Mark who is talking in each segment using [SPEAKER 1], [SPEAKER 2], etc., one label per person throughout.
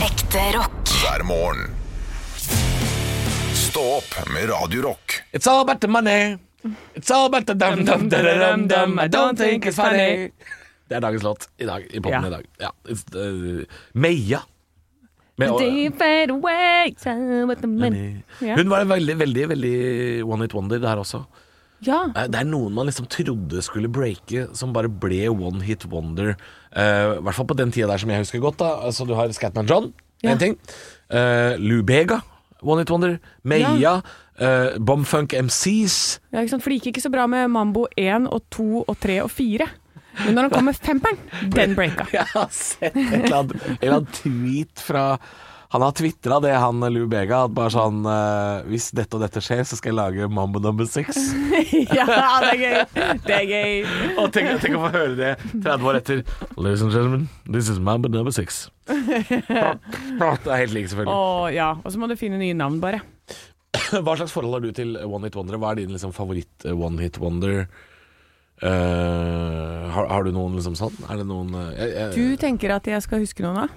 [SPEAKER 1] Ekte rock.
[SPEAKER 2] hver morgen. Stå opp med Radio Rock.
[SPEAKER 3] It's all about the money. It's all about the dum dum da da dum dum. I don't think it's funny. Det er dagens låt i dag, i popen
[SPEAKER 4] Ja.
[SPEAKER 3] i dag. Ja. it's, uh, Meia. Med,
[SPEAKER 4] They fade away, time with the men- Ja.
[SPEAKER 3] hun var en veldig, veldig veldig one hit wonder der også.
[SPEAKER 4] Ja.
[SPEAKER 3] Eh, Det er noen man liksom trodde skulle breake, som bare ble one hit wonder. Eh, I hvert fall på den tida der som jeg husker godt. da Altså Du har Scatman John,
[SPEAKER 4] Ja.
[SPEAKER 3] en ting. Eh, Lou Bega, one hit wonder. Meia.
[SPEAKER 4] Ja.
[SPEAKER 3] eh, Bomfunk MCs.
[SPEAKER 4] ja, ikke sant? For det gikk ikke så bra med Mambo 1 og 2 og 3 og 4. Men når han kom med femperen, den breaka.
[SPEAKER 3] Jeg har sett et eller annet, en eller annen tweet fra Han har tvitra det, han Lou Bega. At bare sånn eh, Hvis dette og dette skjer, så skal jeg lage Mambo number six.
[SPEAKER 4] ja, det er gøy. Det er gøy.
[SPEAKER 3] Og tenk, tenk å få høre det 30 år etter. Ladies and gentlemen, this is Mambo number six. Det er helt lik, selvfølgelig.
[SPEAKER 4] Og ja, og så må du finne nye navn, bare.
[SPEAKER 3] Hva slags forhold har du til eh, One Hit Wonder? Hva er din liksom, favoritt eh, One Hit Wonder? Eh, har, har du noen liksom sånn? Er det noen eh, jeg, jeg,
[SPEAKER 4] Du tenker at jeg skal huske noen av?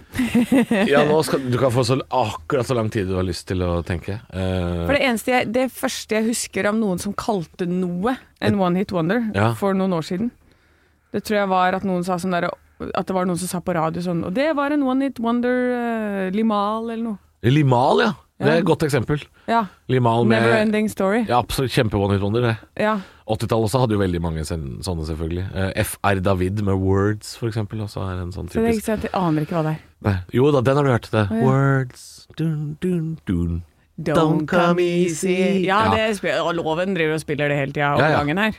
[SPEAKER 3] Ja, nå skal, du kan få så, akkurat så lang tid du har lyst til å tenke. Eh,
[SPEAKER 4] For det eneste jeg, det første jeg husker om noen som kalte noe en one hit wonder
[SPEAKER 3] Ja.
[SPEAKER 4] for noen år siden, det tror jeg var at noen sa sånn der, at det var noen som sa på radio sånn Og det var en one hit wonder eh, limal eller noe.
[SPEAKER 3] Limal, ja. Det er et godt eksempel.
[SPEAKER 4] Ja.
[SPEAKER 3] Limal med
[SPEAKER 4] Never ending story.
[SPEAKER 3] ja, absolutt kjempe one hit wonder. det.
[SPEAKER 4] Ja.
[SPEAKER 3] 80-tallet også hadde jo veldig mange sen- sånne, selvfølgelig. Eh, FR David med Words, for eksempel. Også er en sånn
[SPEAKER 4] Så det er
[SPEAKER 3] typisk
[SPEAKER 4] ikke sant, jeg aner ikke hva det er.
[SPEAKER 3] Nei. Jo da, den har du hørt. Det.
[SPEAKER 4] ja.
[SPEAKER 3] Words dun, dun, dun. Don't come easy.
[SPEAKER 4] Ja,
[SPEAKER 3] Ja.
[SPEAKER 4] det spiller, og loven driver og spiller det hele tida om
[SPEAKER 3] Ja, ja.
[SPEAKER 4] gangen her.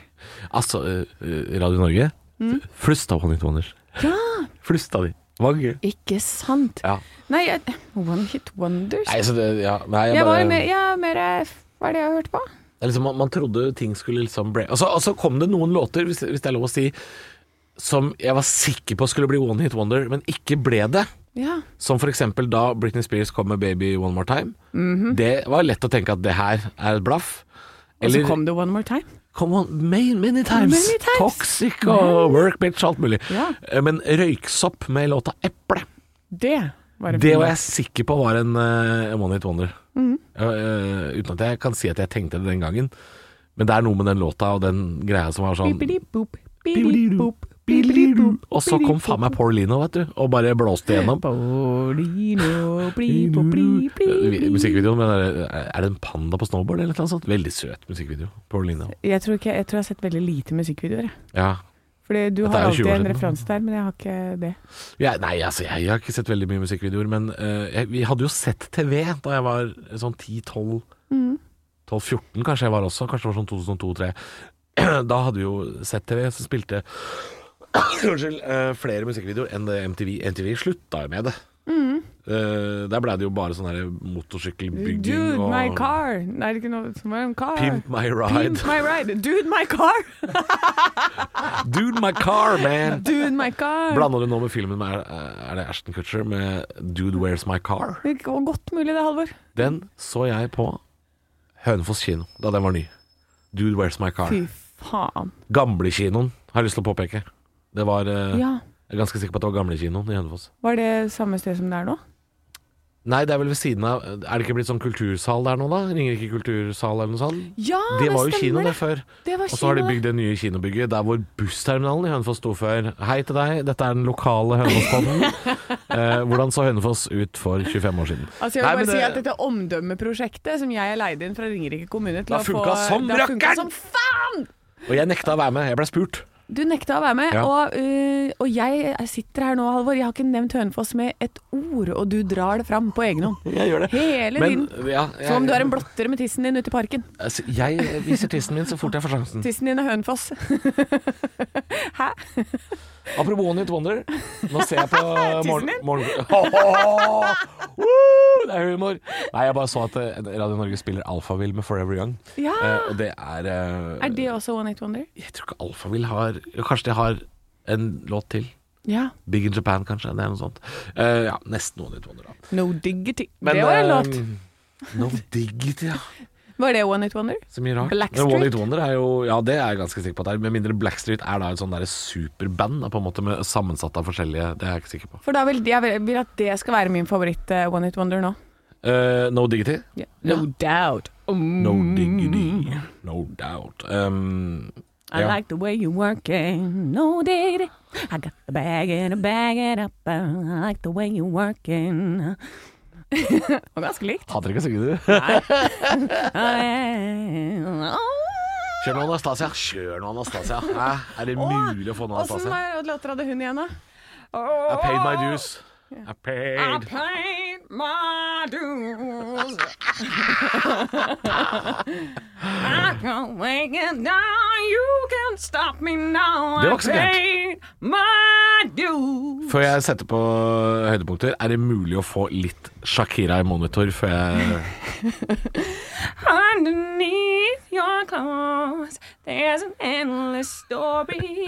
[SPEAKER 3] Altså, eh, eh, Radio Norge
[SPEAKER 4] Mm.
[SPEAKER 3] Flust av one hit wonders. Ja. Flust av de. Det Var gøy.
[SPEAKER 4] Ikke sant?
[SPEAKER 3] Ja.
[SPEAKER 4] Nei, jeg, one hit wonders
[SPEAKER 3] Nei, så det, ja. Nei,
[SPEAKER 4] Jeg var
[SPEAKER 3] bare-
[SPEAKER 4] mer, ja, mer eh, Hva er det jeg har hørt på?
[SPEAKER 3] Det er Liksom, man, man trodde ting skulle liksom break Og så og så kom det noen låter, hvis, hvis det er lov å si, som jeg var sikker på skulle bli One Hit Wonder, men ikke ble det.
[SPEAKER 4] Ja.
[SPEAKER 3] Som for eksempel da Britney Spears kom med 'Baby One More Time'. Det var lett å tenke at det her er et blaff.
[SPEAKER 4] Mhm. Og så
[SPEAKER 3] Eller
[SPEAKER 4] kom det One More Time.
[SPEAKER 3] Come on, many, many, times.
[SPEAKER 4] Many times.
[SPEAKER 3] Toxic og Work Bitch, alt mulig.
[SPEAKER 4] Ja.
[SPEAKER 3] Eh, Men Røyksopp med låta 'Eple',
[SPEAKER 4] Det var en
[SPEAKER 3] det
[SPEAKER 4] fin
[SPEAKER 3] var
[SPEAKER 4] låt.
[SPEAKER 3] jeg sikker på var en eh, One Hit Wonder. Eh, eh, uten at jeg kan si at jeg tenkte det den gangen. Men det er noe med den låta og den greia som var sånn
[SPEAKER 4] Bipidi-boop, bipidi-boop, bipidi-boop,
[SPEAKER 3] Og så kom faen meg Paul Lino, vet du, og bare blåste igjennom.
[SPEAKER 4] Paulino, bli, bo, bli, bli, bli.
[SPEAKER 3] Musikkvideoen med den der, Eh, Er det en panda på snowboard eller noe sånt? Veldig søt musikkvideo. Paul Lino.
[SPEAKER 4] Jeg tror, ikke, jeg tror jeg har sett veldig lite musikkvideoer. jeg.
[SPEAKER 3] Ja.
[SPEAKER 4] Fordi du
[SPEAKER 3] Dette er jo
[SPEAKER 4] har alltid
[SPEAKER 3] 20 år
[SPEAKER 4] en
[SPEAKER 3] siden.
[SPEAKER 4] referanse der, men jeg har ikke det.
[SPEAKER 3] Jeg, nei, altså, jeg har ikke sett veldig mye musikkvideoer, men eh, jeg, vi hadde jo sett TV da jeg var sånn 10-12
[SPEAKER 4] Mm.
[SPEAKER 3] 12-14 kanskje jeg var også, kanskje det var sånn 2002-2003. Da hadde vi jo sett TV, så spilte Unnskyld, eh, flere musikkvideoer enn det MTV MTV slutta jo med det.
[SPEAKER 4] Mm.
[SPEAKER 3] Eh, der blei det jo bare sånn her motorsykkelbygging
[SPEAKER 4] Dude,
[SPEAKER 3] og
[SPEAKER 4] my car! Nei, det er ikke noe som var en car.
[SPEAKER 3] Pimp my ride.
[SPEAKER 4] Pimp my ride. Dude, my car!
[SPEAKER 3] Dude, my car, man!
[SPEAKER 4] Dude, my car!
[SPEAKER 3] Blanda du nå med filmen med er det Ashton Kutcher med Dude, Where's My Car?
[SPEAKER 4] Det var godt mulig det, Halvor.
[SPEAKER 3] Den så jeg på Hønefoss kino da den var ny. Dude, Where's My Car?
[SPEAKER 4] Fy faen.
[SPEAKER 3] Gamlekinoen, har jeg lyst til å påpeke. Det var eh,
[SPEAKER 4] Ja.
[SPEAKER 3] Jeg er ganske sikker på at det var gamlekinoen i Hønefoss.
[SPEAKER 4] Var det samme sted som det er nå?
[SPEAKER 3] Nei, det er vel ved siden av Er det ikke blitt sånn kultursal der nå, da? Ringerike kultursal eller noe sånt?
[SPEAKER 4] Ja,
[SPEAKER 3] Det var jo
[SPEAKER 4] stemmer.
[SPEAKER 3] kino
[SPEAKER 4] det.
[SPEAKER 3] der før.
[SPEAKER 4] Det var
[SPEAKER 3] Og så har de
[SPEAKER 4] kino, det.
[SPEAKER 3] bygd det nye kinobygget der hvor bussterminalen i Hønefoss sto før. Hei til deg, dette er den lokale Hønefoss-podden. eh, hvordan så Hønefoss ut for 25 år siden?
[SPEAKER 4] Altså jeg vil
[SPEAKER 3] Nei, men
[SPEAKER 4] bare si
[SPEAKER 3] det-
[SPEAKER 4] at Dette omdømmeprosjektet som jeg er leid inn fra Ringerike kommune til
[SPEAKER 3] Det har
[SPEAKER 4] å få
[SPEAKER 3] funka som
[SPEAKER 4] det har funka
[SPEAKER 3] rakkeren!
[SPEAKER 4] som faen!
[SPEAKER 3] Og jeg nekta å være med, jeg ble spurt.
[SPEAKER 4] Du nekta å være med,
[SPEAKER 3] Ja.
[SPEAKER 4] og, øh, og jeg sitter her nå, Halvor. Jeg har ikke nevnt Hønefoss med et ord, og du drar det fram på egen hånd.
[SPEAKER 3] Jeg gjør det.
[SPEAKER 4] Hele
[SPEAKER 3] Men
[SPEAKER 4] tiden.
[SPEAKER 3] ja,
[SPEAKER 4] Som om du er
[SPEAKER 3] jeg,
[SPEAKER 4] en blotter med tissen din ute i parken.
[SPEAKER 3] altså, jeg viser tissen min så fort jeg får sjansen.
[SPEAKER 4] Tissen din er Hønefoss.
[SPEAKER 3] Apropos One Hit Wonder. Nå ser jeg på morgen...
[SPEAKER 4] din?
[SPEAKER 3] morgen Åh! Woo! det er humor. Nei, jeg bare så at eh, Radio Norge spiller Alphaville med Forever Young.
[SPEAKER 4] Ja!
[SPEAKER 3] Eh, og det er eh,
[SPEAKER 4] Er det også One Night Wonder?
[SPEAKER 3] Jeg tror ikke Alphaville har jo, Kanskje de har en låt til.
[SPEAKER 4] Ja.
[SPEAKER 3] Big in Japan, kanskje. Det er noe sånt. Eh, ja, nesten One Hit Wonder, da.
[SPEAKER 4] No diggity.
[SPEAKER 3] Men,
[SPEAKER 4] det var en låt.
[SPEAKER 3] eh, No Diggity, ja.
[SPEAKER 4] Var det One It Wonder?
[SPEAKER 3] Så mye rart.
[SPEAKER 4] Blackstreet?
[SPEAKER 3] Men One Hit Wonder er jo Ja, det er jeg ganske sikker på at det er. Med mindre Blackstreet er da et sånn derre superband, da, på en måte med sammensatt av forskjellige Det er jeg ikke sikker på.
[SPEAKER 4] For da vil jeg vil, vil at det skal være min favoritt eh, One It Wonder nå.
[SPEAKER 3] Eh, no Diggity?
[SPEAKER 4] No doubt.
[SPEAKER 3] No
[SPEAKER 4] Mm.
[SPEAKER 3] Diggity. No doubt. Um,
[SPEAKER 4] I
[SPEAKER 3] ja.
[SPEAKER 4] like the way you working, no diddy. I got the bag and I bag it up. I like the way you working. Og ganske likt.
[SPEAKER 3] Hater ikke å synge, du. Kjør nå Anastasia. Kjør nå Anastasia. Hæ? Er det mulig å få noe
[SPEAKER 4] Åssen
[SPEAKER 3] Anastasia?
[SPEAKER 4] låter hadde hun igjen, da?
[SPEAKER 3] I paid my dues. I paid
[SPEAKER 4] paid my dues. I can wake it down. You can stop me now.
[SPEAKER 3] Det er var ikke så gærent.
[SPEAKER 4] paid my dues.
[SPEAKER 3] Før jeg setter på eh, høydepunkter, er det mulig å få litt Shakira i monitor før jeg
[SPEAKER 4] Underneath your clothes, there's an endless story.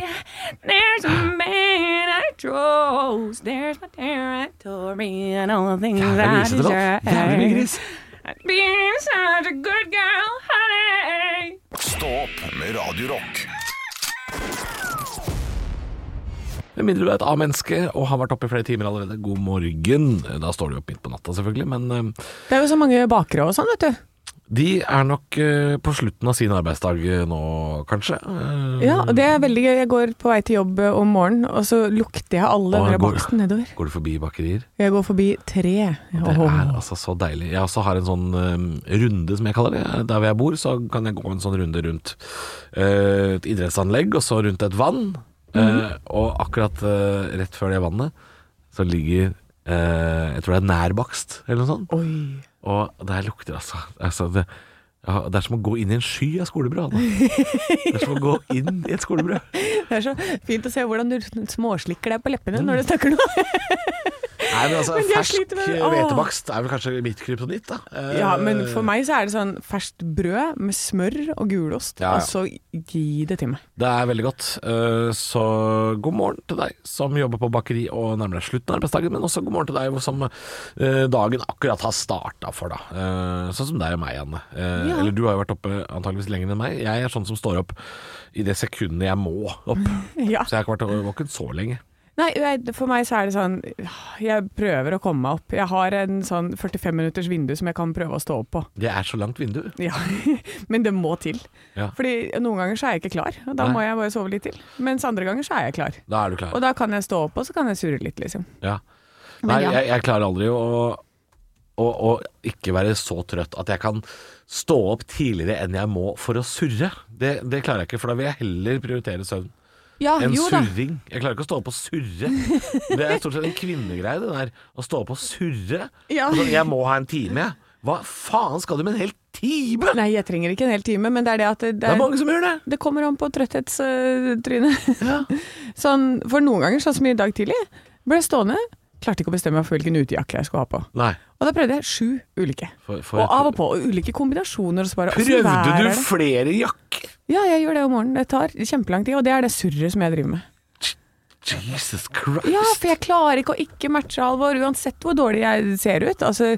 [SPEAKER 4] There's a man I chose. There's my territory and all the things
[SPEAKER 3] Det er
[SPEAKER 4] I
[SPEAKER 3] grisete
[SPEAKER 4] desire.
[SPEAKER 3] låt. Jævlig mye gris.
[SPEAKER 4] Being such a good girl, honey.
[SPEAKER 2] Stå opp med Radio Rock.
[SPEAKER 3] Med mindre du er et A-menneske og har vært oppe i flere timer allerede, god morgen. Da står du opp midt på natta, selvfølgelig, men eh,
[SPEAKER 4] Det er jo så mange bakere og sånn, vet du.
[SPEAKER 3] de er nok eh, på slutten av sin arbeidsdag eh, nå, kanskje. Eh,
[SPEAKER 4] Ja, og det er veldig gøy. Jeg går på vei til jobb eh, om morgenen, og så lukter jeg alle
[SPEAKER 3] Og
[SPEAKER 4] denne
[SPEAKER 3] går-
[SPEAKER 4] baksten nedover.
[SPEAKER 3] Går du forbi bakerier?
[SPEAKER 4] Jeg går forbi tre.
[SPEAKER 3] Det er altså så deilig. Jeg også har en sånn eh, runde, som jeg kaller det. Der hvor jeg bor, så kan jeg gå en sånn runde rundt eh, et idrettsanlegg, og så rundt et vann. Eh, og akkurat eh, rett før det vannet, så ligger eh, Jeg tror det er nærbakst, eller noe sånt.
[SPEAKER 4] Oi.
[SPEAKER 3] Og der lukter altså, altså det, ja, det er som å gå inn i en sky av skolebrød. Anne. Det er som å gå inn i et skolebrød.
[SPEAKER 4] Det er så fint å se hvordan du småslikker deg på leppene når du snakker nå.
[SPEAKER 3] Nei, men altså,
[SPEAKER 4] jeg
[SPEAKER 3] Fersk
[SPEAKER 4] sliter med det. Åh.
[SPEAKER 3] hvetebakst er vel kanskje mitt kryptonitt, da. Eh,
[SPEAKER 4] Ja, men for meg så er det sånn ferskt brød med smør og gulost,
[SPEAKER 3] Ja, ja.
[SPEAKER 4] og så gi det til meg.
[SPEAKER 3] Det er veldig godt. Eh, Så god morgen til deg som jobber på bakeri og nærmer deg slutten av arbeidsdagen, men også god morgen til deg som eh, dagen akkurat har starta for, da. Eh, Sånn som deg og meg, Anne. Eh,
[SPEAKER 4] Ja.
[SPEAKER 3] Eller du har jo vært oppe antageligvis lenger enn meg. Jeg er sånn som står opp i det sekundet jeg må opp.
[SPEAKER 4] Ja.
[SPEAKER 3] Så jeg har ikke vært våken så lenge.
[SPEAKER 4] Nei, jeg, for meg så er det sånn Jeg prøver å komme meg opp. Jeg har en sånn 45 minutters vindu som jeg kan prøve å stå opp på.
[SPEAKER 3] Det er så langt vindu.
[SPEAKER 4] Ja. Men det må til.
[SPEAKER 3] Ja.
[SPEAKER 4] Fordi noen ganger så er jeg ikke klar. og Da
[SPEAKER 3] Nei.
[SPEAKER 4] må jeg bare sove litt til. Mens andre ganger så er jeg klar.
[SPEAKER 3] Da er du klar.
[SPEAKER 4] Og da kan jeg stå opp, og så kan jeg surre litt, liksom.
[SPEAKER 3] Ja.
[SPEAKER 4] Men
[SPEAKER 3] Nei,
[SPEAKER 4] ja.
[SPEAKER 3] jeg, jeg klarer aldri å, å, å ikke være så trøtt at jeg kan stå opp tidligere enn jeg må for å surre. Det, det klarer jeg ikke, for da vil jeg heller prioritere søvn
[SPEAKER 4] Ja,
[SPEAKER 3] enn
[SPEAKER 4] Ah, jo da.
[SPEAKER 3] surring. Jeg klarer ikke å stå opp og surre. Det er stort sett en kvinnegreie, det der. Å stå opp og surre.
[SPEAKER 4] Ja.
[SPEAKER 3] Altså, jeg må ha en time, jeg. Hva faen skal du med en hel time?!
[SPEAKER 4] Nei, jeg trenger ikke en hel time, men det er det at det, det,
[SPEAKER 3] Det er
[SPEAKER 4] er,
[SPEAKER 3] mange som gjør det!
[SPEAKER 4] det kommer an på trøtthetstrynet.
[SPEAKER 3] Ja.
[SPEAKER 4] sånn, for noen ganger, sånn som i dag tidlig, ble jeg stående. Klarte ikke å bestemme meg for hvilken utejakke jeg skulle ha på.
[SPEAKER 3] Nei.
[SPEAKER 4] Og da prøvde jeg sju ulike.
[SPEAKER 3] For, for
[SPEAKER 4] Og av og på, og ulike kombinasjoner. Og så bare, hvordan vær
[SPEAKER 3] Prøvde
[SPEAKER 4] er
[SPEAKER 3] du
[SPEAKER 4] det?
[SPEAKER 3] flere jakker?
[SPEAKER 4] Ja, jeg gjør det om morgenen. Det tar kjempelang tid, og det er det surret som jeg driver med.
[SPEAKER 3] Jesus Christ!
[SPEAKER 4] Ja, for jeg klarer ikke å ikke matche alvor, uansett hvor dårlig jeg ser ut. Altså,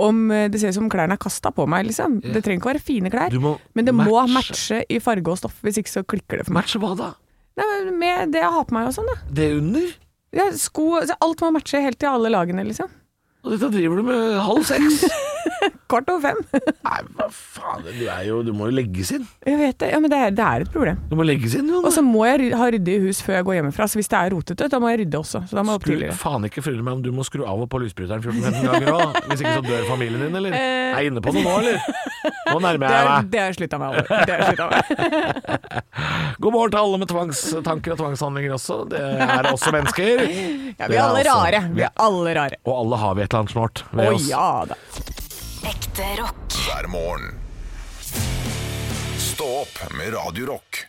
[SPEAKER 4] om eh, det ser ut som klærne er kasta på meg, liksom. Det trenger ikke å være fine klær.
[SPEAKER 3] Du må
[SPEAKER 4] Men det må
[SPEAKER 3] matche.
[SPEAKER 4] matche i farge og stoff, hvis ikke så klikker det for meg.
[SPEAKER 3] Matche hva da?
[SPEAKER 4] Nei, men Med det jeg har på meg og sånn, da.
[SPEAKER 3] Det under?
[SPEAKER 4] Ja, sko altså, Alt må matche helt til alle lagene, liksom.
[SPEAKER 3] Og dette driver du med halv seks.
[SPEAKER 4] Kvart over fem.
[SPEAKER 3] Nei, hva faen. Du, er jo, du må jo legges inn.
[SPEAKER 4] Jeg vet det. Ja, men det er, det er et problem.
[SPEAKER 3] Du må legges inn, Jon.
[SPEAKER 4] Og så må jeg ry- ha ryddig hus før jeg går hjemmefra. Så hvis det er rotete, da må jeg rydde også. Så da må jeg opp
[SPEAKER 3] Skru,
[SPEAKER 4] tidligere.
[SPEAKER 3] faen ikke fylle meg om du må skru av og på lysbryteren 14-15 ganger òg. Hvis ikke så dør familien din, eller? Er jeg inne på det nå, eller? Nå
[SPEAKER 4] Eh. Det
[SPEAKER 3] nærmer jeg
[SPEAKER 4] har
[SPEAKER 3] meg.
[SPEAKER 4] det har jeg slutta med. Alle. Det har jeg sluttet med.
[SPEAKER 3] God morgen til alle med tvangstanker og tvangshandlinger også. Det er også mennesker.
[SPEAKER 4] Ja,
[SPEAKER 3] Det
[SPEAKER 4] vi er alle
[SPEAKER 3] altså-
[SPEAKER 4] rare. Vi er alle rare.
[SPEAKER 3] Og alle har vi et eller annet snålt
[SPEAKER 4] Å
[SPEAKER 3] ved oss.
[SPEAKER 4] ja da.
[SPEAKER 1] Ekte rock.
[SPEAKER 2] hver morgen. Stå opp med Radio Rock.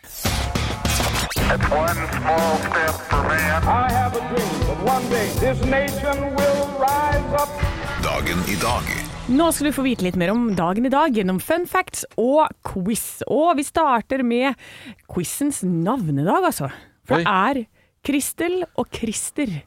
[SPEAKER 5] One small step for man.
[SPEAKER 6] I have a dream that one day this nation will rise up.
[SPEAKER 2] Dagen i dag
[SPEAKER 4] Nå skal du få vite litt mer om dagen i dag gjennom fun facts og quiz. Og vi starter med quizens navnedag, altså. For det er Kristel og Christer.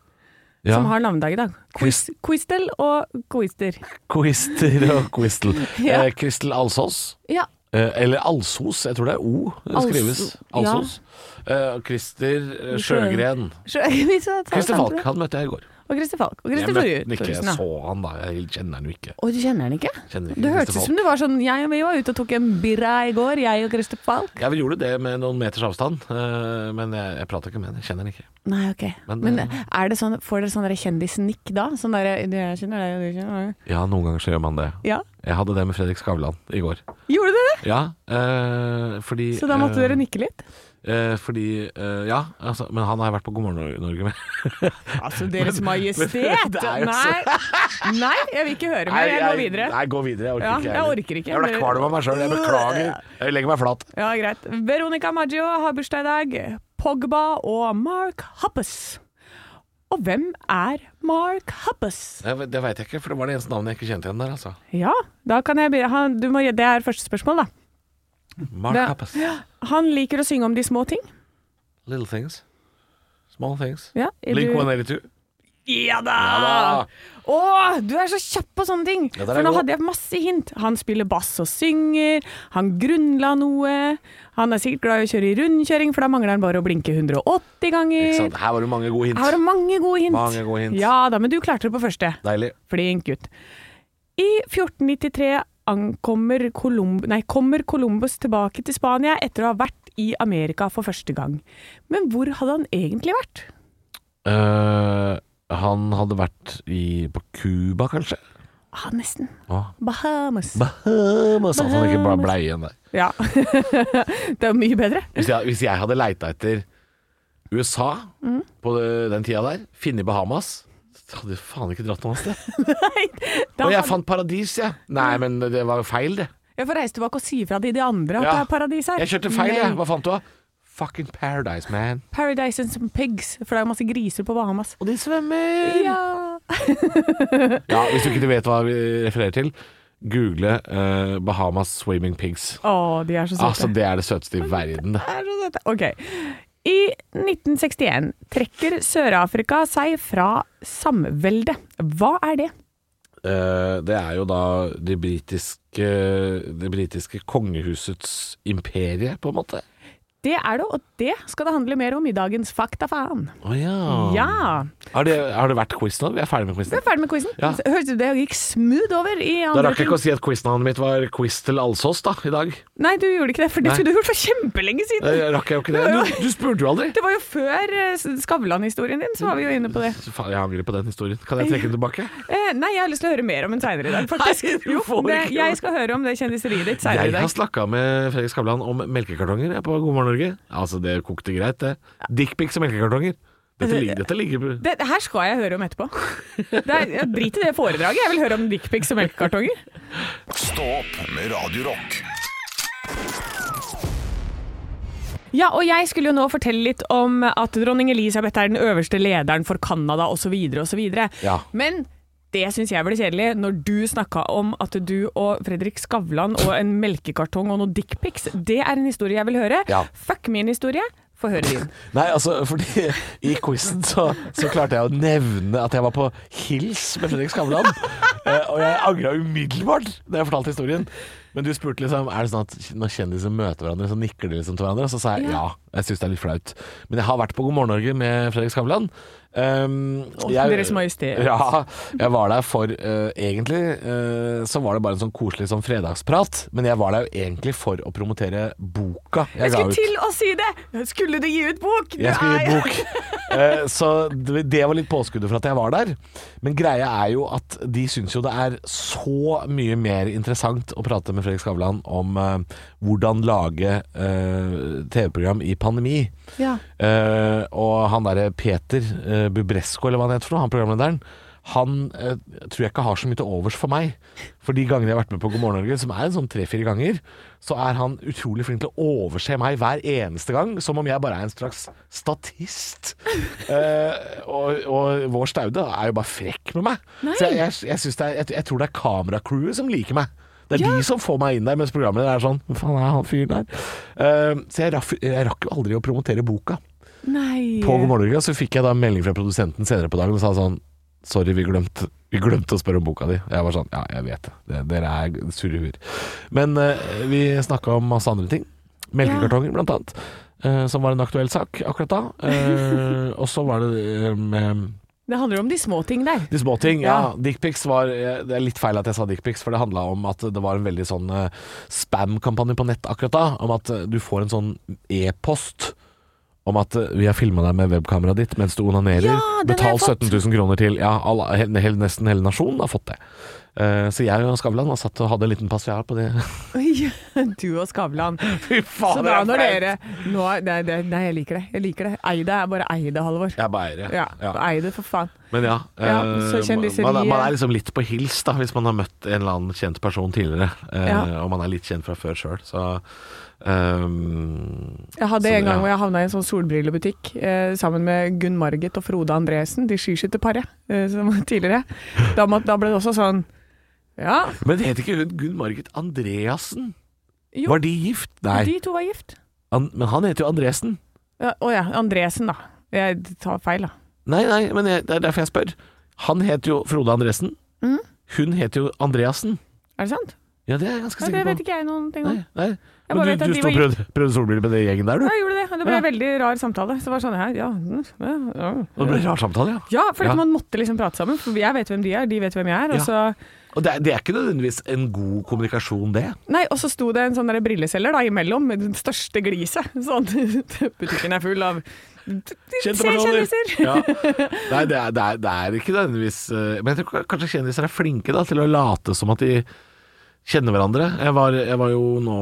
[SPEAKER 3] Ja.
[SPEAKER 4] som har navnedag i dag. Quiz, Quistel og Quister.
[SPEAKER 3] Quister og Quistel.
[SPEAKER 4] Ja.
[SPEAKER 3] Eh, Quistel Alsås.
[SPEAKER 4] Ja.
[SPEAKER 3] Eh, eller Alsos, jeg tror det er O det
[SPEAKER 4] Also-
[SPEAKER 3] skrives.
[SPEAKER 4] ja.
[SPEAKER 3] Alsos. Eh, Christer eh, Sjøgren.
[SPEAKER 4] Så, hvis jeg tar
[SPEAKER 3] Christer
[SPEAKER 4] sant
[SPEAKER 3] Falk,
[SPEAKER 4] det.
[SPEAKER 3] han møtte jeg i går.
[SPEAKER 4] Og Christer Falk. Og
[SPEAKER 3] Jeg
[SPEAKER 4] Christer
[SPEAKER 3] møtte
[SPEAKER 4] Thor-
[SPEAKER 3] han ikke,
[SPEAKER 4] Thorsen.
[SPEAKER 3] jeg
[SPEAKER 4] ja.
[SPEAKER 3] så han da. Jeg kjenner han jo ikke.
[SPEAKER 4] Å, du kjenner han ikke?
[SPEAKER 3] Kjenner ikke
[SPEAKER 4] Det
[SPEAKER 3] Christer
[SPEAKER 4] hørtes ut som du var sånn Jeg og vi var ute og tok en birra i går, jeg og Christer Falk.
[SPEAKER 3] Jeg vel gjorde det med noen meters avstand, eh, men jeg, jeg prater ikke med han. Jeg kjenner han ikke.
[SPEAKER 4] Nei, ok.
[SPEAKER 3] Men, eh,
[SPEAKER 4] Men, er det sånn, får dere sånn der kjendisnikk da? Sånn der, du, jeg kjenner deg, du kjenner deg.
[SPEAKER 3] Ja, noen ganger så gjør man det.
[SPEAKER 4] Ja.
[SPEAKER 3] Jeg hadde det med Fredrik Skavlan i går.
[SPEAKER 4] Gjorde dere det?
[SPEAKER 3] Ja, eh, fordi
[SPEAKER 4] Så da måtte
[SPEAKER 3] eh,
[SPEAKER 4] dere nikke litt?
[SPEAKER 3] eh, fordi eh, Ja, altså, men han har jeg vært på God morgen Norge med.
[SPEAKER 4] Altså, Deres Majestet!
[SPEAKER 3] det er jo
[SPEAKER 4] Nei. Nei, jeg vil ikke høre mer. Jeg går videre.
[SPEAKER 3] Nei, gå videre. Jeg orker
[SPEAKER 4] Ja,
[SPEAKER 3] ikke.
[SPEAKER 4] jeg orker ikke.
[SPEAKER 3] Jeg ble kvalm av meg sjøl. Jeg beklager. Jeg legger meg flat.
[SPEAKER 4] Ja, greit. Veronica Maggio har bursdag i dag. Pogba og Mark Hoppus. Og hvem er Mark Hoppus?
[SPEAKER 3] Det, det veit jeg ikke, for det var det eneste navnet jeg ikke kjente igjen der, altså.
[SPEAKER 4] Ja, da kan jeg begynne. Han- du må- Det er første spørsmål, da.
[SPEAKER 3] Mark
[SPEAKER 4] Det-
[SPEAKER 3] Hoppus.
[SPEAKER 4] Han liker å synge om de små ting.
[SPEAKER 3] Little things. Small things.
[SPEAKER 4] Ja, er
[SPEAKER 3] Blink
[SPEAKER 4] du- Ah.
[SPEAKER 3] 182.
[SPEAKER 4] Ja da!
[SPEAKER 3] Ja da.
[SPEAKER 4] Å, du er så kjapp på sånne ting!
[SPEAKER 3] Ja, der er
[SPEAKER 4] For nå
[SPEAKER 3] god.
[SPEAKER 4] hadde jeg masse hint. Han spiller bass og synger, han grunnla noe. Han er sikkert glad i å kjøre i rundkjøring, for da mangler han bare å blinke 180
[SPEAKER 3] Ikke
[SPEAKER 4] ganger.
[SPEAKER 3] sant? Her var det mange gode hint.
[SPEAKER 4] Her har du mange gode hint.
[SPEAKER 3] Mange gode hint.
[SPEAKER 4] Ja da, men du klarte det på første.
[SPEAKER 3] Deilig.
[SPEAKER 4] Flink gutt. I 1493 ankommer Colum- nei, kommer Columbus tilbake til Spania etter å ha vært i Amerika for første gang. Men hvor hadde han egentlig vært?
[SPEAKER 3] Eh, han hadde vært i, på Cuba, kanskje?
[SPEAKER 4] Ah, nesten.
[SPEAKER 3] Åh.
[SPEAKER 4] Bahamas.
[SPEAKER 3] Bahamas. Altså, han ikke bare blei igjen der.
[SPEAKER 4] Ja. det er mye bedre.
[SPEAKER 3] Hvis jeg, hvis jeg hadde leita etter USA
[SPEAKER 4] Mm.
[SPEAKER 3] på den tida der, funnet Bahamas, så hadde jeg faen ikke dratt noe sted.
[SPEAKER 4] Da
[SPEAKER 3] Og jeg
[SPEAKER 4] hadde-
[SPEAKER 3] fant paradis, jeg. Ja. Nei, men det var jo feil, det.
[SPEAKER 4] jeg får reise tilbake og si ifra til de andre at
[SPEAKER 3] Ja.
[SPEAKER 4] det er paradis her.
[SPEAKER 3] Jeg kjørte feil, jeg.
[SPEAKER 4] Men
[SPEAKER 3] Hva fant du, da? Fucking paradise, man.
[SPEAKER 4] Paradise and some pigs, for det er jo masse griser på Bahamas.
[SPEAKER 3] Og de svømmer! Ja.
[SPEAKER 4] Ja.
[SPEAKER 3] Hvis du ikke vet hva vi refererer til, google eh, Bahamas swimming pigs.
[SPEAKER 4] Å, de er så søte.
[SPEAKER 3] Altså, det er det søteste i verden. det.
[SPEAKER 4] De er så søte. Ok. I 1961 trekker Sør-Afrika seg fra samveldet. Hva er det?
[SPEAKER 3] Eh, det er jo da det britiske, det britiske kongehusets imperie, på en måte.
[SPEAKER 4] Det er det, og det skal det handle mer om i dagens Faktafaen.
[SPEAKER 3] Å ja.
[SPEAKER 4] Ja.
[SPEAKER 3] Har, det, har det vært quiz nå? Vi er ferdig med
[SPEAKER 4] Vi
[SPEAKER 3] quizen.
[SPEAKER 4] er ferdig med quizen.
[SPEAKER 3] Ja.
[SPEAKER 4] Hørtes ut det gikk smooth over i
[SPEAKER 3] Da
[SPEAKER 4] andre
[SPEAKER 3] rakk jeg ikke å si at quiznavnet mitt var Quiz til Alsås da, i dag.
[SPEAKER 4] Nei, du gjorde ikke det, for det
[SPEAKER 3] Nei.
[SPEAKER 4] skulle du gjort for kjempelenge siden.
[SPEAKER 3] Eh, rakk jeg jo ikke det. Du, du spurte jo aldri.
[SPEAKER 4] Det var jo før eh, Skavlan-historien din, så var vi jo inne på det.
[SPEAKER 3] Faen, jeg angrer på den historien. Kan jeg trekke den tilbake?
[SPEAKER 4] Eh, nei, jeg har lyst til å høre mer om den seinere i dag, faktisk.
[SPEAKER 3] du får
[SPEAKER 4] det,
[SPEAKER 3] ikke lov.
[SPEAKER 4] jeg skal høre om det kjendiseriet ditt seinere i
[SPEAKER 3] Jeg har
[SPEAKER 4] dag.
[SPEAKER 3] snakka med Fredrik Skavlan om melkekartonger jeg, på God morgen Norge. Altså, det kokte greit, det. Dickpics og melkekartonger. Dette
[SPEAKER 4] Altså,
[SPEAKER 3] ligger, dette ligger på-
[SPEAKER 4] Det, det her skal jeg høre om etterpå. Det er, jeg Drit i det foredraget, jeg vil høre om dickpics og melkekartonger.
[SPEAKER 2] Stå opp med Radio Rock.
[SPEAKER 4] Ja, og jeg skulle jo nå fortelle litt om at dronning Elisabeth er den øverste lederen for Canada osv. osv.
[SPEAKER 3] Ja.
[SPEAKER 4] Men det syns jeg ble kjedelig når du snakka om at du og Fredrik Skavlan og en melkekartong og noen dickpics. Det er en historie jeg vil høre.
[SPEAKER 3] Ja.
[SPEAKER 4] Fuck min historie. Få høre din.
[SPEAKER 3] Nei, altså, fordi i quizen så, så klarte jeg å nevne at jeg var på hils med Fredrik Skavlan. Eh, og jeg angra umiddelbart da jeg fortalte historien. Men du spurte liksom Er det sånn at når kjendiser møter hverandre, så nikker de liksom til hverandre. Og så sa jeg ja. Jeg syns det er litt flaut. Men jeg har vært på God morgen Norge med Fredrik Skavlan. Um,
[SPEAKER 4] Deres Majestet.
[SPEAKER 3] Ja. Jeg var der for eh, Egentlig eh, så var det bare en sånn koselig sånn fredagsprat. Men jeg var der jo egentlig for å promotere boka jeg,
[SPEAKER 4] Jeg
[SPEAKER 3] ga
[SPEAKER 4] skulle
[SPEAKER 3] ut.
[SPEAKER 4] til å si det! Skulle du gi ut bok?
[SPEAKER 3] Jeg skal gi
[SPEAKER 4] Nei.
[SPEAKER 3] bok. Eh, Så det det var litt påskuddet for at jeg var der. Men greia er jo at de syns jo det er så mye mer interessant å prate med Fredrik Skavlan om eh, hvordan lage eh, TV-program i pandemi.
[SPEAKER 4] Ja.
[SPEAKER 3] Eh, og han derre Peter eh, Bubresko, eller hva han heter for noe, han programlederen, han eh, tror jeg ikke har så mye til overs for meg. For de gangene jeg har vært med på God morgen Norge, som er en sånn tre-fire ganger, så er han utrolig flink til å overse meg hver eneste gang, som om jeg bare er en slags statist. Eh, og, og vår Staude er jo bare frekk med meg. Så jeg, jeg, jeg, synes det er, jeg, jeg tror det er kameracrewet som liker meg. Det er de som får meg inn der, mens programmet er sånn Hva faen er han fyren der? Eh, så jeg, raff, jeg rakk jo aldri å promotere boka.
[SPEAKER 4] Nei.
[SPEAKER 3] På God morgen Norge så fikk jeg da en melding fra produsenten senere på dagen og sa sånn Sorry, vi glemte, vi glemte å spørre om boka di. Jeg var sånn Ja, jeg vet det. det dere er surre huer. Men eh, vi snakka om masse andre ting. Melkekartonger, blant annet. eh, som var en aktuell sak akkurat da. Eh, og så var det eh, med
[SPEAKER 4] Det handler om de små ting der.
[SPEAKER 3] de små ting, ja.
[SPEAKER 4] Ja.
[SPEAKER 3] Dickpics var eh, Det er litt feil at jeg sa dickpics, for det handla om at det var en veldig sånn eh, spam-kampanje på nett akkurat da. Om at eh, du får en sånn e-post om at eh, vi har filma deg med webkameraet ditt mens du onanerer.
[SPEAKER 4] Ja, den har
[SPEAKER 3] Betal
[SPEAKER 4] jeg fått.
[SPEAKER 3] 17 000 kroner til. Ja, alle, he, he, nesten hele nasjonen har fått det. Eh, så jeg og Skavlan har satt og hadde en liten passiar på det.
[SPEAKER 4] Du og Skavlan.
[SPEAKER 3] Fy
[SPEAKER 4] Så
[SPEAKER 3] faen,
[SPEAKER 4] da
[SPEAKER 3] det
[SPEAKER 4] når
[SPEAKER 3] er flaut!
[SPEAKER 4] dere nå, nei, nei, nei, jeg liker det. Jeg liker det. Eie det er bare eie det, Halvor.
[SPEAKER 3] Jeg er bare eier,
[SPEAKER 4] Ja, eie det, for faen.
[SPEAKER 3] Men ja,
[SPEAKER 4] Ja,
[SPEAKER 3] eh,
[SPEAKER 4] så kjendiseriet-
[SPEAKER 3] man, man er liksom litt på hils da hvis man har møtt en eller annen kjent person tidligere. eh,
[SPEAKER 4] Ja.
[SPEAKER 3] Og man er litt kjent fra før sjøl, så ehm,
[SPEAKER 4] Jeg hadde
[SPEAKER 3] Så,
[SPEAKER 4] en gang
[SPEAKER 3] ja.
[SPEAKER 4] hvor jeg havna i en sånn solbrillebutikk eh, sammen med Gunn Margit og Frode Andresen, de skiskytterparet eh, som var tidligere. Da, må, da ble det også sånn Ja,
[SPEAKER 3] Men het ikke hun Gunn Margit Andreassen?
[SPEAKER 4] Jo.
[SPEAKER 3] Var de gift? Nei.
[SPEAKER 4] de to var gift.
[SPEAKER 3] An men han heter jo Andresen.
[SPEAKER 4] Ja, Å ja, Andresen, da. Jeg tar feil, da.
[SPEAKER 3] Nei, nei, men jeg, det er derfor jeg spør. Han heter jo Frode Andresen.
[SPEAKER 4] Mm.
[SPEAKER 3] Hun heter jo Andreassen.
[SPEAKER 4] Er det sant?
[SPEAKER 3] Ja, det er jeg ganske
[SPEAKER 4] Ja, det
[SPEAKER 3] sikker
[SPEAKER 4] vet
[SPEAKER 3] på.
[SPEAKER 4] ikke jeg noen ting om.
[SPEAKER 3] Nei, nei.
[SPEAKER 4] Jeg bare
[SPEAKER 3] Men
[SPEAKER 4] vet
[SPEAKER 3] du,
[SPEAKER 4] at
[SPEAKER 3] du
[SPEAKER 4] de
[SPEAKER 3] sto og
[SPEAKER 4] var
[SPEAKER 3] prøvde, prøvde solbriller med den gjengen der,
[SPEAKER 4] Ja,
[SPEAKER 3] du?
[SPEAKER 4] jeg gjorde det. og Det ble
[SPEAKER 3] Ja.
[SPEAKER 4] en veldig rar samtale. Så det var sånn her, ja, mm, ja, ja.
[SPEAKER 3] Og det ble en rar samtale, ja.
[SPEAKER 4] ja for
[SPEAKER 3] Ja.
[SPEAKER 4] at man måtte liksom prate sammen. For jeg vet hvem de er, de vet hvem jeg er. Og
[SPEAKER 3] Ja.
[SPEAKER 4] så
[SPEAKER 3] Og det er, det er ikke nødvendigvis en god kommunikasjon, det.
[SPEAKER 4] Nei, og så sto det en sånn der brilleselger da imellom, med den største gliset. Sånn, butikken er full av Se kjendiser!
[SPEAKER 3] Ja. Nei, det er, det, er, det er ikke nødvendigvis eh, Men jeg tror ka- kanskje kjendiser er flinke da, til å late som at de kjenner hverandre. Jeg var, jeg var jo nå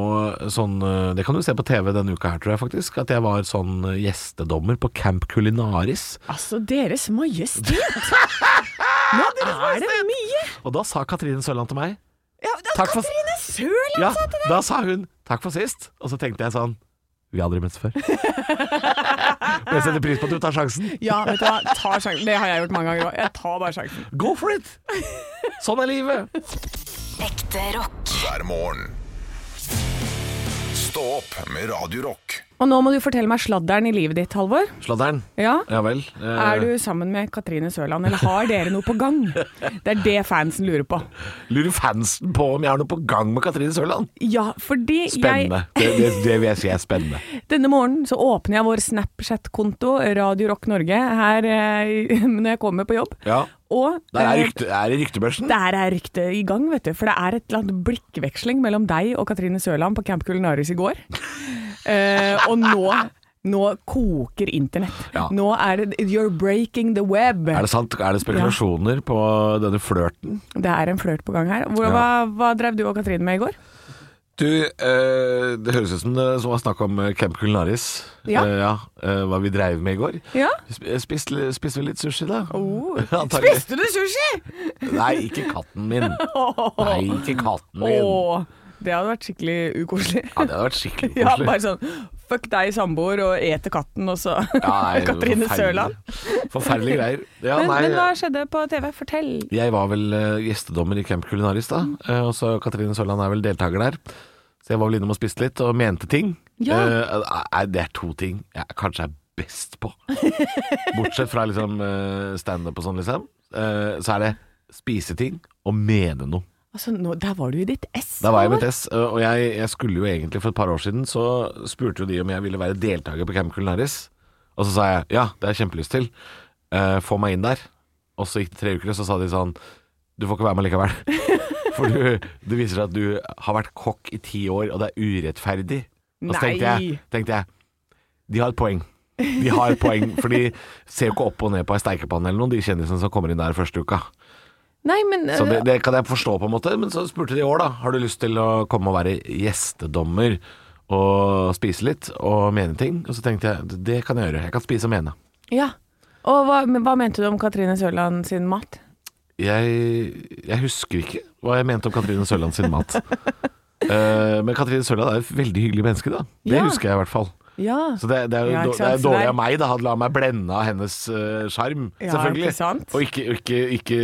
[SPEAKER 3] sånn eh, Det kan du se på TV denne uka her, tror jeg faktisk. At jeg var sånn eh, gjestedommer på Camp Culinaris.
[SPEAKER 4] Altså, Deres Majestet! Nå er det mye!
[SPEAKER 3] Og da sa Katrine Sørland til meg
[SPEAKER 4] Ja, det er
[SPEAKER 3] Takk for-
[SPEAKER 4] Katrine Sørland!
[SPEAKER 3] Ja, da sa hun 'takk for sist', og så tenkte jeg sånn Vi har aldri møttes før. Men jeg setter pris på at du tar sjansen.
[SPEAKER 4] Ja, vet du hva, ta sjansen. Det har jeg gjort mange ganger òg. Jeg tar bare sjansen.
[SPEAKER 3] Go for it! Sånn er livet.
[SPEAKER 1] Ekte rock.
[SPEAKER 2] hver morgen. Stå opp med Radio Rock.
[SPEAKER 4] Og nå må du fortelle meg sladderen i livet ditt, Halvor.
[SPEAKER 3] Sladderen.
[SPEAKER 4] Ja?
[SPEAKER 3] Ja vel. eh,
[SPEAKER 4] Er du sammen med Katrine Sørland, eller har dere noe på gang? Det er det fansen lurer på.
[SPEAKER 3] Lurer fansen på om jeg har noe på gang med Katrine Sørland?
[SPEAKER 4] Ja, fordi jeg
[SPEAKER 3] Spennende. Det, det, det vil jeg si er spennende.
[SPEAKER 4] Denne morgenen så åpner jeg vår Snapchat-konto, Radio Rock Norge, her eh, når jeg kommer på jobb.
[SPEAKER 3] Ja.
[SPEAKER 4] Og
[SPEAKER 3] Der er,
[SPEAKER 4] eh,
[SPEAKER 3] rykte, er det ryktebørsen.
[SPEAKER 4] der er ryktet i gang, vet du. For det er et eller annet blikkveksling mellom deg og Katrine Sørland på Camp Culinaris i går. Eh, og nå nå koker internett.
[SPEAKER 3] Ja.
[SPEAKER 4] Nå er det You're breaking the web.
[SPEAKER 3] Er det sant? Er det spekulasjoner på denne flørten?
[SPEAKER 4] Det er en flørt på gang her. Hvor, hva, hva drev du og Katrine med i går?
[SPEAKER 3] Du, eh, det høres ut som det som var snakk om eh, Camp Culinaris.
[SPEAKER 4] Ja.
[SPEAKER 3] Eh, ja eh, hva vi dreiv med i går.
[SPEAKER 4] Ja?
[SPEAKER 3] Sp- Spiste li- spiste vi litt sushi, da?
[SPEAKER 4] Oh.
[SPEAKER 3] Antagelig.
[SPEAKER 4] Spiste du sushi?
[SPEAKER 3] Nei, ikke katten min. Nei, ikke katten min.
[SPEAKER 4] Åh, det hadde vært skikkelig ukoselig.
[SPEAKER 3] Ja, det hadde vært skikkelig
[SPEAKER 4] Ja,
[SPEAKER 3] koselig.
[SPEAKER 4] bare sånn Fuck deg, samboer, og ete katten, og så
[SPEAKER 3] Ja, nei,
[SPEAKER 4] Katrine
[SPEAKER 3] forferdelig.
[SPEAKER 4] Sørland.
[SPEAKER 3] Forferdelige greier. Ja,
[SPEAKER 4] Men,
[SPEAKER 3] nei,
[SPEAKER 4] men hva skjedde på TV? Fortell.
[SPEAKER 3] Jeg var vel eh, gjestedommer i Camp Culinaris da, eh, og så Katrine Sørland er vel deltaker der. Så jeg var vel innom og spiste litt og mente ting.
[SPEAKER 4] Ja.
[SPEAKER 3] Eh, eh, det er to ting jeg kanskje er best på. Bortsett fra liksom eh, standup og sånn, liksom. Eh, Så er det spise ting og mene noe.
[SPEAKER 4] Altså, nå, der var du i ditt ess.
[SPEAKER 3] Da var jeg
[SPEAKER 4] Halvor.
[SPEAKER 3] mitt ess, og jeg, jeg skulle jo egentlig for et par år siden, så spurte jo de om jeg ville være deltaker på Camp Culinaris. Og så sa jeg ja, det har jeg kjempelyst til. Eh, få meg inn der. Og så gikk det tre uker, og så sa de sånn Du får ikke være med likevel. For du, det viser seg at du har vært kokk i ti år, og det er urettferdig. Og så tenkte jeg,
[SPEAKER 4] Nei.
[SPEAKER 3] tenkte jeg De har et poeng. De har et poeng, for de ser jo ikke opp og ned på ei steikepanne eller noe, de kjendisene som kommer inn der første uka.
[SPEAKER 4] Nei, men øh,
[SPEAKER 3] Så det, det kan jeg forstå på en måte, men så spurte de i år da Har du lyst til å komme og være gjestedommer Og spise litt og mene ting Og så tenkte jeg, det kan jeg gjøre, jeg kan spise og mene
[SPEAKER 4] Ja. Og hva, men, hva mente du om Katrine Sørland sin mat?
[SPEAKER 3] Jeg, jeg husker ikke hva jeg mente om Katrine Sørland sin mat Eh, Men Katrine Sørland er et veldig hyggelig menneske da Det
[SPEAKER 4] Ja.
[SPEAKER 3] husker jeg i hvert fall
[SPEAKER 4] Ja.
[SPEAKER 3] Så det, det er jo
[SPEAKER 4] Ja, ikke
[SPEAKER 3] dår- det
[SPEAKER 4] sant?
[SPEAKER 3] er
[SPEAKER 4] Så det
[SPEAKER 3] dårlig
[SPEAKER 4] er-
[SPEAKER 3] av meg da Hadde la meg blende av hennes eh, sjarm
[SPEAKER 4] Ja,
[SPEAKER 3] Selvfølgelig
[SPEAKER 4] ikke sant?
[SPEAKER 3] Og ikke, ikke, ikke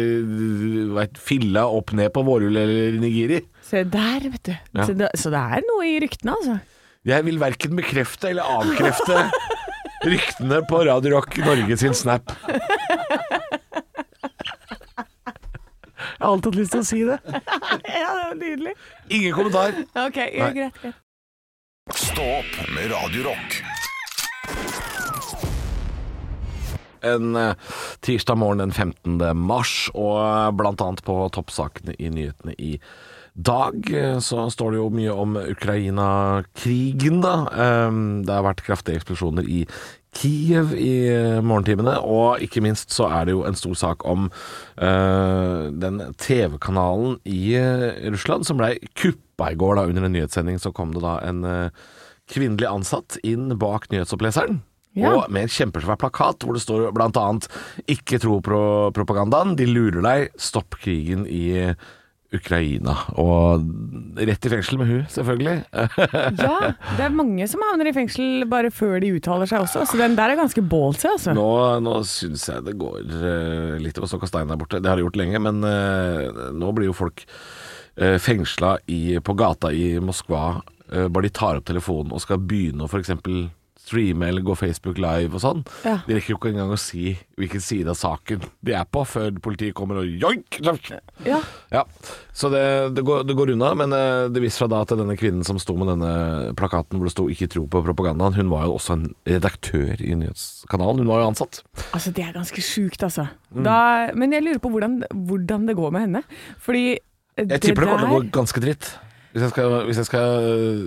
[SPEAKER 3] vet, filla opp ned på vårhul eller nigiri
[SPEAKER 4] Se der, vet du.
[SPEAKER 3] Ja.
[SPEAKER 4] Så, det, så det er noe i ryktene, altså.
[SPEAKER 3] Jeg vil verken bekrefte eller avkrefte Ryktene på Radio Rock Norge sin snap. Jeg har alltid hatt lyst til å si det.
[SPEAKER 4] Ja, det var nydelig.
[SPEAKER 3] Ingen kommentar.
[SPEAKER 4] Ok,
[SPEAKER 3] Nei.
[SPEAKER 4] ja, greit. greit.
[SPEAKER 2] Stå opp med Radio Rock.
[SPEAKER 3] en eh, tirsdag morgen den 15. mars, og eh, blant annet på toppsakene i nyhetene i dag eh, så står det jo mye om Ukraina-krigen, da. Ehm, Det har vært kraftige eksplosjoner i Kiev i eh, morgentimene, og ikke minst så er det jo en stor sak om eh, den TV-kanalen i eh, Russland som blei kuppa i går, da. Under en nyhetssending så kom det da en eh, kvinnelig ansatt inn bak nyhetsoppleseren.
[SPEAKER 4] Ja.
[SPEAKER 3] Og med en kjempesvær plakat hvor det står blant annet 'Ikke tro pro propagandaen, de lurer deg. Stopp krigen i Ukraina'. Og rett i fengsel med hun, selvfølgelig.
[SPEAKER 4] Ja, det er mange som havner i fengsel bare før de uttaler seg også, så den der er ganske ballsy, altså.
[SPEAKER 3] Nå, nå syns jeg det går eh, litt over stokk og stein der borte. Det har det gjort lenge, men eh, nå blir jo folk uh, fengsla i, på gata i Moskva eh, bare de tar opp telefonen og skal begynne å f.eks. streame eller gå Facebook live og sånn.
[SPEAKER 4] Ja.
[SPEAKER 3] De rekker jo ikke engang å si hvilken side av saken de er på, før politiet kommer og joink!
[SPEAKER 4] Ja.
[SPEAKER 3] Ja, så det, det, går, det går unna, men eh, det viser seg da at denne kvinnen som sto med denne plakaten hvor det sto 'ikke tro på propagandaen', hun var jo også en redaktør i nyhetskanalen. Hun var jo ansatt.
[SPEAKER 4] Altså, det er ganske sjukt, altså.
[SPEAKER 3] Mm.
[SPEAKER 4] Da, men jeg lurer på hvordan, hvordan det går med henne. Fordi eh,
[SPEAKER 3] Jeg tipper det kommer til å gå ganske dritt. Hvis jeg, skal, hvis jeg skal øh,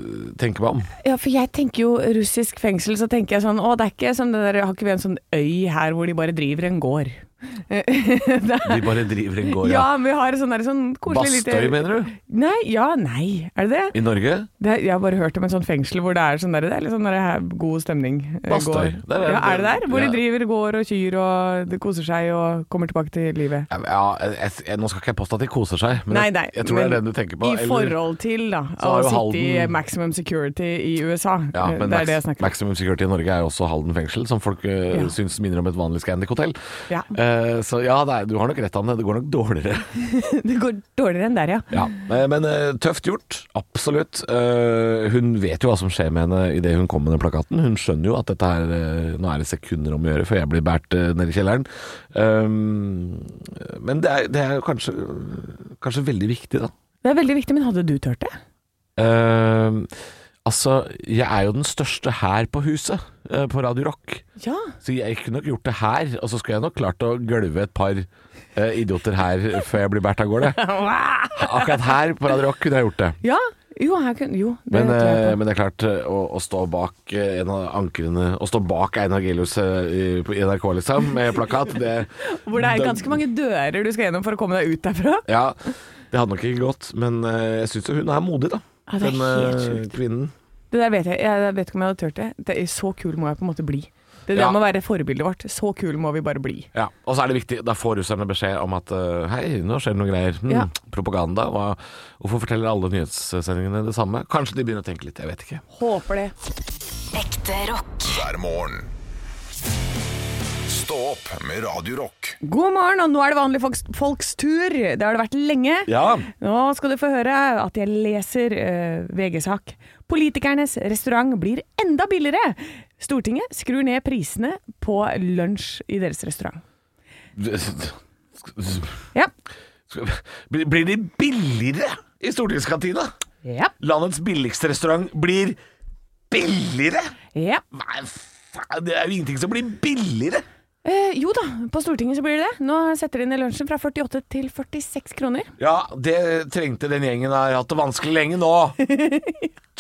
[SPEAKER 3] tenke meg om.
[SPEAKER 4] Ja, for jeg tenker jo russisk fengsel, så tenker jeg sånn Å, det er ikke som det der Har ikke vi en sånn øy her hvor de bare driver en gård?
[SPEAKER 3] De bare driver en gård,
[SPEAKER 4] Ja,
[SPEAKER 3] ja.
[SPEAKER 4] men vi har en sånn, der, sånn koselig lite
[SPEAKER 3] Bastøy, mener du?
[SPEAKER 4] Nei, ja, nei. Er det det?
[SPEAKER 3] I Norge?
[SPEAKER 4] det? Jeg har bare hørt om en sånn fengsel hvor det er sånn der, det er litt sånn der, her, god stemning. eh,
[SPEAKER 3] Bastøy.
[SPEAKER 4] gård.
[SPEAKER 3] Det er-
[SPEAKER 4] ja, er det der? Hvor
[SPEAKER 3] Ja.
[SPEAKER 4] de driver gård og kyr og det koser seg og kommer tilbake til livet.
[SPEAKER 3] Ja, jeg, jeg, nå skal ikke jeg påstå at de koser seg, men
[SPEAKER 4] Nei, nei.
[SPEAKER 3] jeg, jeg tror det er den
[SPEAKER 4] men
[SPEAKER 3] du tenker på.
[SPEAKER 4] I
[SPEAKER 3] eller-
[SPEAKER 4] forhold til da, å
[SPEAKER 3] har jo
[SPEAKER 4] sitte i
[SPEAKER 3] Halden-
[SPEAKER 4] maximum security i USA.
[SPEAKER 3] ja,
[SPEAKER 4] Eh,
[SPEAKER 3] men
[SPEAKER 4] det
[SPEAKER 3] max,
[SPEAKER 4] er det jeg snakker om.
[SPEAKER 3] Maximum Security i Norge er jo også Halden fengsel, som folk øh,
[SPEAKER 4] Ja.
[SPEAKER 3] syns minner om et vanlig Scandic-hotell.
[SPEAKER 4] Ja.
[SPEAKER 3] Eh, så ja, det er, du har nok rett, Anne. Det går nok dårligere.
[SPEAKER 4] Det går dårligere enn der, ja.
[SPEAKER 3] Ja, eh, men eh, tøft gjort, absolutt. Eh, Hun vet jo hva som skjer med henne idet hun kommer med den plakaten. Hun skjønner jo at dette her, eh, nå er det sekunder om å gjøre før jeg blir båret eh, ned i kjelleren. Um, Men det er, det er jo kanskje, kanskje veldig viktig, da.
[SPEAKER 4] Det er veldig viktig, men hadde du tørt det?
[SPEAKER 3] Eh, Altså, jeg er jo den største her på huset, eh, på Radio Rock.
[SPEAKER 4] Ja.
[SPEAKER 3] Så jeg kunne nok gjort det her, og så skulle jeg nok klart å gølve et par eh, idioter her før jeg blir båret av gårde. Akkurat her på Radio Rock kunne jeg gjort det.
[SPEAKER 4] Ja, jo, her kunne, jo det
[SPEAKER 3] Men,
[SPEAKER 4] tror jeg
[SPEAKER 3] eh,
[SPEAKER 4] på.
[SPEAKER 3] men det er klart, eh, å, å stå bak eh, en av ankrene Å stå bak Einar Gelius eh, i på NRK, liksom, med plakat, det
[SPEAKER 4] Hvor det er ganske mange dører du skal gjennom for å komme deg ut derfra.
[SPEAKER 3] Ja, det hadde nok ikke gått, men eh, jeg syns jo hun er modig, da.
[SPEAKER 4] Ja, det er
[SPEAKER 3] Den
[SPEAKER 4] helt
[SPEAKER 3] eh,
[SPEAKER 4] sjukt.
[SPEAKER 3] kvinnen.
[SPEAKER 4] Det der vet jeg, jeg vet ikke om jeg hadde tørt det. det er så kul må jeg på en måte bli. Det der
[SPEAKER 3] Ja.
[SPEAKER 4] må være forbildet vårt. Så kul må vi bare bli.
[SPEAKER 3] Ja, Og så er det viktig, da får russerne beskjed om at eh, hei, nå skjer det noen greier. Hm,
[SPEAKER 4] Ja.
[SPEAKER 3] Propaganda. Hva, hvorfor forteller alle nyhetssendingene det samme? Kanskje de begynner å tenke litt, jeg vet ikke.
[SPEAKER 4] Håper det.
[SPEAKER 1] Ekte rock.
[SPEAKER 2] hver morgen. Stå opp med Radio Rock.
[SPEAKER 4] God morgen, og nå er det vanlige folks, folks tur. Det har det vært lenge.
[SPEAKER 3] Ja,
[SPEAKER 4] Nå skal du få høre at jeg leser eh, VG-sak. Politikernes restaurant blir enda billigere. Stortinget skrur ned prisene på lunsj i deres restaurant. Ja.
[SPEAKER 3] Blir blir de billigere i stortingskantina?
[SPEAKER 4] Ja.
[SPEAKER 3] Landets billigste restaurant blir billigere?
[SPEAKER 4] ja.
[SPEAKER 3] Nei, faen, det er jo ingenting som blir billigere.
[SPEAKER 4] Eh, jo da, på Stortinget så blir det det. Nå setter de ned lunsjen fra 48 til 46 kroner.
[SPEAKER 3] Ja, det trengte den gjengen har hatt det vanskelig lenge nå.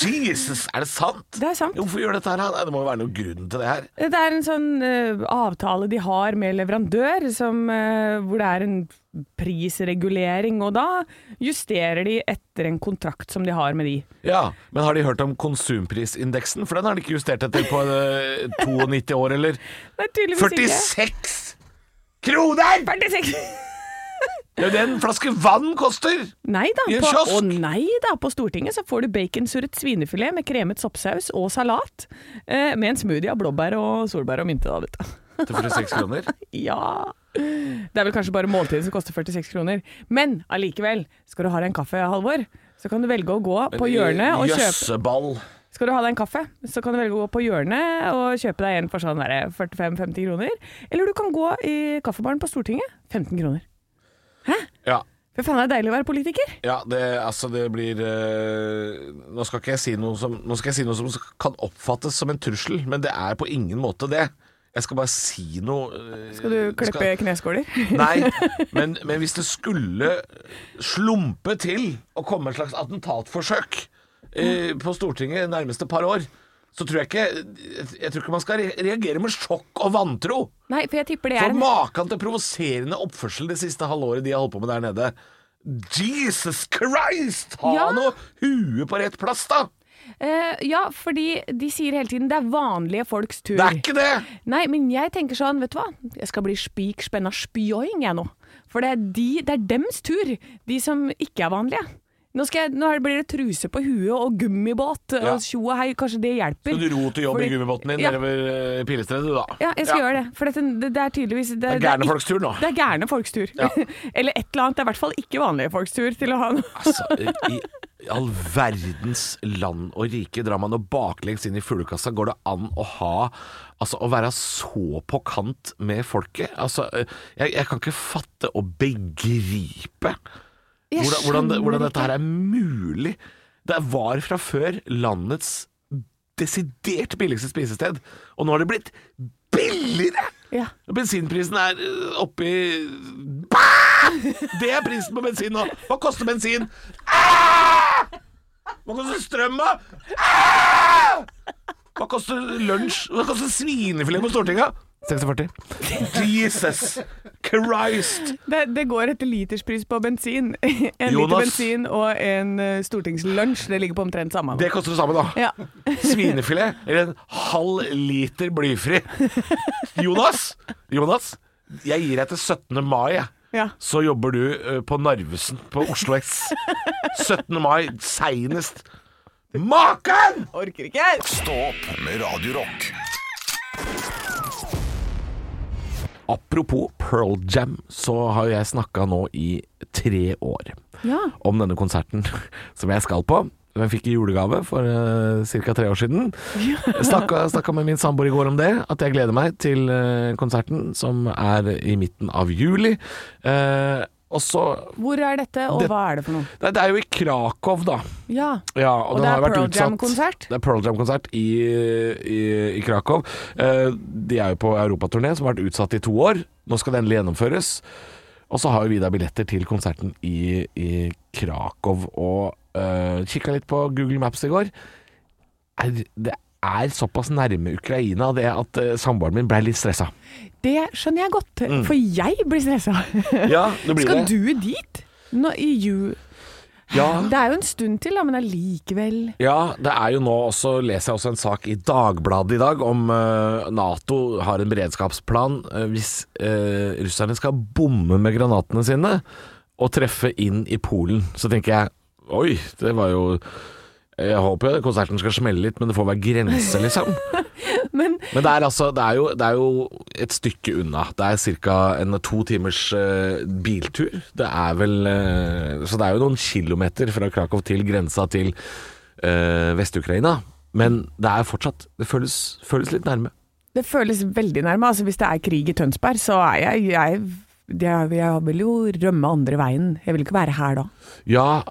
[SPEAKER 3] Jesus, er det sant?
[SPEAKER 4] Det er sant.
[SPEAKER 3] Hvorfor gjør dette her? Nei, det må jo være noen grunn til det her.
[SPEAKER 4] Det er en sånn eh, avtale de har med leverandør, som, eh, hvor det er en prisregulering. Og da justerer de etter en kontrakt som de har med de.
[SPEAKER 3] Ja, Men har de hørt om konsumprisindeksen? For den har de ikke justert etter på eh, 92 år, eller?
[SPEAKER 4] Det er tydeligvis
[SPEAKER 3] 46 kroner!
[SPEAKER 4] ikke 46!
[SPEAKER 3] Det er jo det en flaske vann koster!
[SPEAKER 4] Nei da,
[SPEAKER 3] I en
[SPEAKER 4] på,
[SPEAKER 3] kiosk?
[SPEAKER 4] å nei da, på Stortinget så får du baconsurret svinefilet med kremet soppsaus og salat, eh, med en smoothie av blåbær og solbær og mynte, da, vet du.
[SPEAKER 3] Til 46 kroner?
[SPEAKER 4] Ja Det er vel kanskje bare måltidet som koster 46 kroner. Men allikevel, skal du ha deg en kaffe, Halvor, så kan du velge å gå på hjørnet og kjøpe
[SPEAKER 3] Jøsseball.
[SPEAKER 4] Skal du ha deg en kaffe, så kan du velge å gå på hjørnet og kjøpe deg en for sånn der 45-50 kroner. Eller du kan gå i kaffebaren på Stortinget. 15 kroner.
[SPEAKER 3] Ja.
[SPEAKER 4] For faen, det er deilig å være politiker.
[SPEAKER 3] Ja, det, altså det blir eh, nå, skal ikke jeg si noe som, nå skal jeg si noe som kan oppfattes som en trussel, men det er på ingen måte det. Jeg skal bare si noe eh,
[SPEAKER 4] Skal du klippe kneskåler?
[SPEAKER 3] Nei, men, men hvis det skulle slumpe til å komme et slags attentatforsøk eh, på Stortinget de nærmeste par år, så tror jeg ikke Jeg tror ikke man skal re- reagere med sjokk og vantro.
[SPEAKER 4] Nei, for jeg tipper det er
[SPEAKER 3] For
[SPEAKER 4] en
[SPEAKER 3] maken til provoserende oppførsel det siste halvåret de har holdt på med der nede. Jesus Christ! Ha
[SPEAKER 4] Ja.
[SPEAKER 3] noe hue på rett plass, da!
[SPEAKER 4] Eh, Ja, fordi de sier hele tiden det er vanlige folks tur.
[SPEAKER 3] Det er ikke det!
[SPEAKER 4] Nei, men jeg tenker sånn, vet du hva? Jeg skal bli spik spenna spjoing, jeg nå. For det er, de, det er dems tur, de som ikke er vanlige. Nå, skal jeg, nå er det- blir det truse på huet og gummibåt
[SPEAKER 3] Ja.
[SPEAKER 4] og tjo og hei, kanskje det
[SPEAKER 3] Skal
[SPEAKER 4] hjelper.
[SPEAKER 3] du ro til jobb i
[SPEAKER 4] Fordi-
[SPEAKER 3] gummibåten din
[SPEAKER 4] Ja.
[SPEAKER 3] nedover eh, Pilestredet, du, da?
[SPEAKER 4] Ja, jeg skal gjøre det. For dette, det, det er tydeligvis Det,
[SPEAKER 3] er gærne folks tur nå.
[SPEAKER 4] Det er gærne folks tur.
[SPEAKER 3] Ja.
[SPEAKER 4] Eller et eller annet. Det er i hvert fall ikke vanlige folks tur til å ha noe.
[SPEAKER 3] Altså, i, i all verdens land og rike drar man og baklengs inn i fuglekassa. Går det an å ha Altså, å være så på kant med folket? Altså, eh, jeg, jeg kan ikke fatte og begripe
[SPEAKER 4] Jeg
[SPEAKER 3] hvordan, hvordan, det-
[SPEAKER 4] skjønner
[SPEAKER 3] hvordan
[SPEAKER 4] ikke.
[SPEAKER 3] dette her er mulig. Det var fra før landets desidert billigste spisested, og nå har det blitt billigere!
[SPEAKER 4] Ja.
[SPEAKER 3] Bensinprisen er øh, oppe i Bah! Det er prisen på bensin nå. Hva koster bensin? Ah! Hva koster strøm, da? Ah! Hva koster lunsj? Hva koster svinefilet på Stortinget? 46. Jesus Christ!
[SPEAKER 4] Det, det går etter literspris på bensin. En liter
[SPEAKER 3] Jonas.
[SPEAKER 4] bensin og en eh, stortingslunsj. Det ligger på omtrent samme. nå.
[SPEAKER 3] Det koster det samme, da.
[SPEAKER 4] Ja.
[SPEAKER 3] Svinefilet eller en halv liter blyfri. Jonas! Jonas, jeg gir deg til 17. mai, jeg.
[SPEAKER 4] ja.
[SPEAKER 3] så jobber du eh, på Narvesen på Oslo S. 17. mai, seinest. Maken!
[SPEAKER 4] Orker ikke!
[SPEAKER 2] Stå opp med Radio Rock.
[SPEAKER 3] Apropos Pearl Jam, så har jo jeg snakka nå i tre år
[SPEAKER 4] Ja.
[SPEAKER 3] om denne konserten som jeg skal på. Som jeg fikk i julegave for uh, ca. tre år siden. Snakka, snakka med min samboer i går om det, at jeg gleder meg til eh, konserten som er i midten av juli. Eh, og så
[SPEAKER 4] Hvor er dette, og
[SPEAKER 3] Det-
[SPEAKER 4] hva er det for noe?
[SPEAKER 3] Nei, det er jo i Krakow, da.
[SPEAKER 4] Ja.
[SPEAKER 3] Ja, og,
[SPEAKER 4] Og
[SPEAKER 3] den
[SPEAKER 4] det er
[SPEAKER 3] har jo vært
[SPEAKER 4] Pearl
[SPEAKER 3] utsatt.
[SPEAKER 4] Jam-konsert?
[SPEAKER 3] Det er Pearl Jam-konsert i, i, i Krakow. Eh, de er jo på europaturné, som har vært utsatt i to år. Nå skal det endelig gjennomføres. Og så har jo vi da billetter til konserten i, i Krakow. Og uh, kikka litt på Google Maps i går. Er, det er såpass nærme Ukraina det at eh, samboeren min blei litt stressa.
[SPEAKER 4] Det skjønner jeg godt, for jeg blir stressa.
[SPEAKER 3] Ja, Mm. det Ah.
[SPEAKER 4] Skal du dit? Nå, i ju...
[SPEAKER 3] Ja.
[SPEAKER 4] Det er jo en stund til, da, men allikevel.
[SPEAKER 3] Ja, det er jo nå også, leser jeg også en sak i Dagbladet i dag om eh, Nato har en beredskapsplan eh, hvis eh, russerne skal bomme med granatene sine og treffe inn i Polen. Så tenker jeg, oi, det var jo jeg håper jo konserten skal smelle litt, men det får være grense, liksom.
[SPEAKER 4] Men
[SPEAKER 3] Men det er, altså, det er, jo, det er jo et stykke unna. Det er ca. en to timers eh, biltur. Det er vel eh, Så det er jo noen kilometer fra Krakow til grensa til eh, Vest-Ukraina. Men det er fortsatt Det føles, føles litt nærme.
[SPEAKER 4] det føles veldig nærme. Altså, hvis det er krig i Tønsberg, så er jeg, jeg jeg, jeg vil jo rømme andre veien. Jeg vil ikke være her da.
[SPEAKER 3] Ja,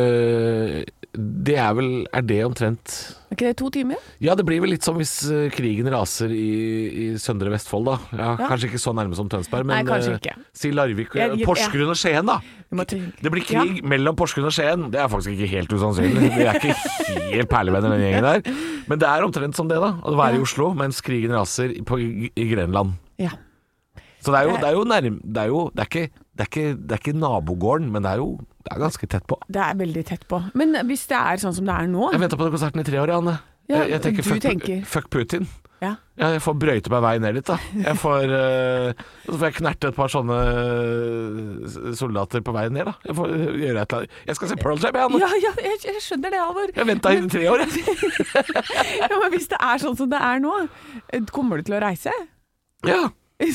[SPEAKER 3] eh, det er vel Er det omtrent
[SPEAKER 4] Er ikke det to timer?
[SPEAKER 3] Ja, det blir vel litt som hvis eh, krigen raser i, i Søndre Vestfold, da. Ja,
[SPEAKER 4] Ja.
[SPEAKER 3] Kanskje ikke så nærme som Tønsberg, men
[SPEAKER 4] Nei, kanskje
[SPEAKER 3] eh,
[SPEAKER 4] ikke.
[SPEAKER 3] si Larvik,
[SPEAKER 4] Jeg- jeg-
[SPEAKER 3] Porsgrunn og Skien, da.
[SPEAKER 4] Vi må tenke.
[SPEAKER 3] Det blir krig mellom Porsgrunn og Skien. Det er faktisk ikke helt usannsynlig. Vi er ikke helt perlevenner, den gjengen der. Men det er omtrent som det, da. Å være i Oslo mens krigen raser i- på, i Grenland.
[SPEAKER 4] Ja.
[SPEAKER 3] Så det er jo, det er jo nærm... Det er jo det er ikke, det er ikke, det er ikke nabogården, men det er jo det er ganske tett på.
[SPEAKER 4] Det er veldig tett på. Men hvis det er sånn som det er nå
[SPEAKER 3] Jeg venta på den konserten i tre år, Janne.
[SPEAKER 4] Ja,
[SPEAKER 3] jeg, jeg tenker,
[SPEAKER 4] du
[SPEAKER 3] fuck,
[SPEAKER 4] tenker.
[SPEAKER 3] fuck Putin.
[SPEAKER 4] ja.
[SPEAKER 3] Ja, jeg får brøyte meg vei ned litt, da. Jeg får, eh, så får jeg knerte et par sånne eh, soldater på veien ned, da. Jeg får eh, gjøre et eller annet. Jeg skal se Pearl Jam, jeg, Anne.
[SPEAKER 4] Ja, ja, jeg, jeg skjønner det, Halvor.
[SPEAKER 3] Jeg venta i tre år, jeg.
[SPEAKER 4] Ja, eh, men hvis det er sånn som det er nå, kommer du til å reise?
[SPEAKER 3] Ja.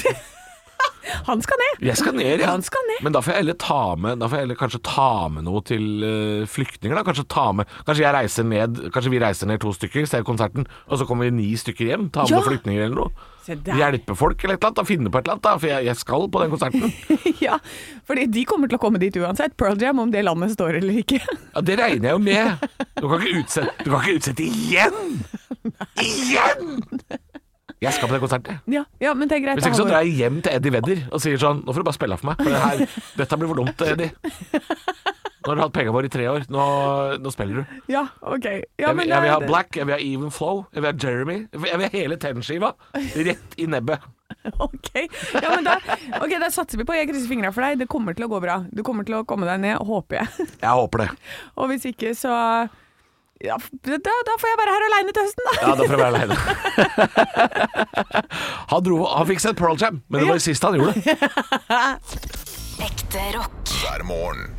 [SPEAKER 4] Han skal ned!
[SPEAKER 3] Jeg skal ned, ja.
[SPEAKER 4] Han skal ned.
[SPEAKER 3] Men da får jeg heller ta med Da får jeg heller kanskje ta med noe til eh, flyktninger, da. Kanskje ta med Kanskje jeg reiser ned Kanskje vi reiser ned to stykker, ser konserten, og så kommer vi ni stykker hjem. Ta med
[SPEAKER 4] Ja.
[SPEAKER 3] noen flyktninger eller noe.
[SPEAKER 4] Se der.
[SPEAKER 3] Hjelpe folk eller et eller annet. Da, finne på et eller annet, da. For jeg, jeg skal på den konserten.
[SPEAKER 4] ja, fordi de kommer til å komme dit uansett. Pearl Jam, om det landet står eller ikke.
[SPEAKER 3] Ja, Det regner jeg jo med. Du kan ikke utsette, du kan ikke utsette igjen! Igjen! Jeg skal på den konserten, jeg.
[SPEAKER 4] ja, ja, men det er greit.
[SPEAKER 3] Hvis ikke
[SPEAKER 4] da
[SPEAKER 3] så
[SPEAKER 4] har
[SPEAKER 3] drar jeg hjem til Eddie Vedder og sier sånn Nå får du bare spille av for meg, for det her, dette blir for dumt, Eddie. Nå har du hatt pengene våre i tre år. Nå, nå spiller du.
[SPEAKER 4] vi- Ja, ok. Ja,
[SPEAKER 3] Jeg,
[SPEAKER 4] men
[SPEAKER 3] vil- jeg vil ha
[SPEAKER 4] det-
[SPEAKER 3] Black, jeg vil ha Even Flow, jeg vil ha Jeremy. Jeg vil jeg vil ha hele tenskiva rett i nebbet.
[SPEAKER 4] Ok, ja, men da, ok, da satser vi på. Jeg krysser fingra for deg. Det kommer til å gå bra. Du kommer til å komme deg ned, håper jeg.
[SPEAKER 3] Jeg håper det.
[SPEAKER 4] Og hvis ikke, så ja, f- da, da får jeg være her aleine til høsten, da.
[SPEAKER 3] Ja, da får jeg være aleine. Han, dro- han fikk sett Pearl Jam, men det var det siste han gjorde.
[SPEAKER 1] Ekte rock.
[SPEAKER 2] hver morgen.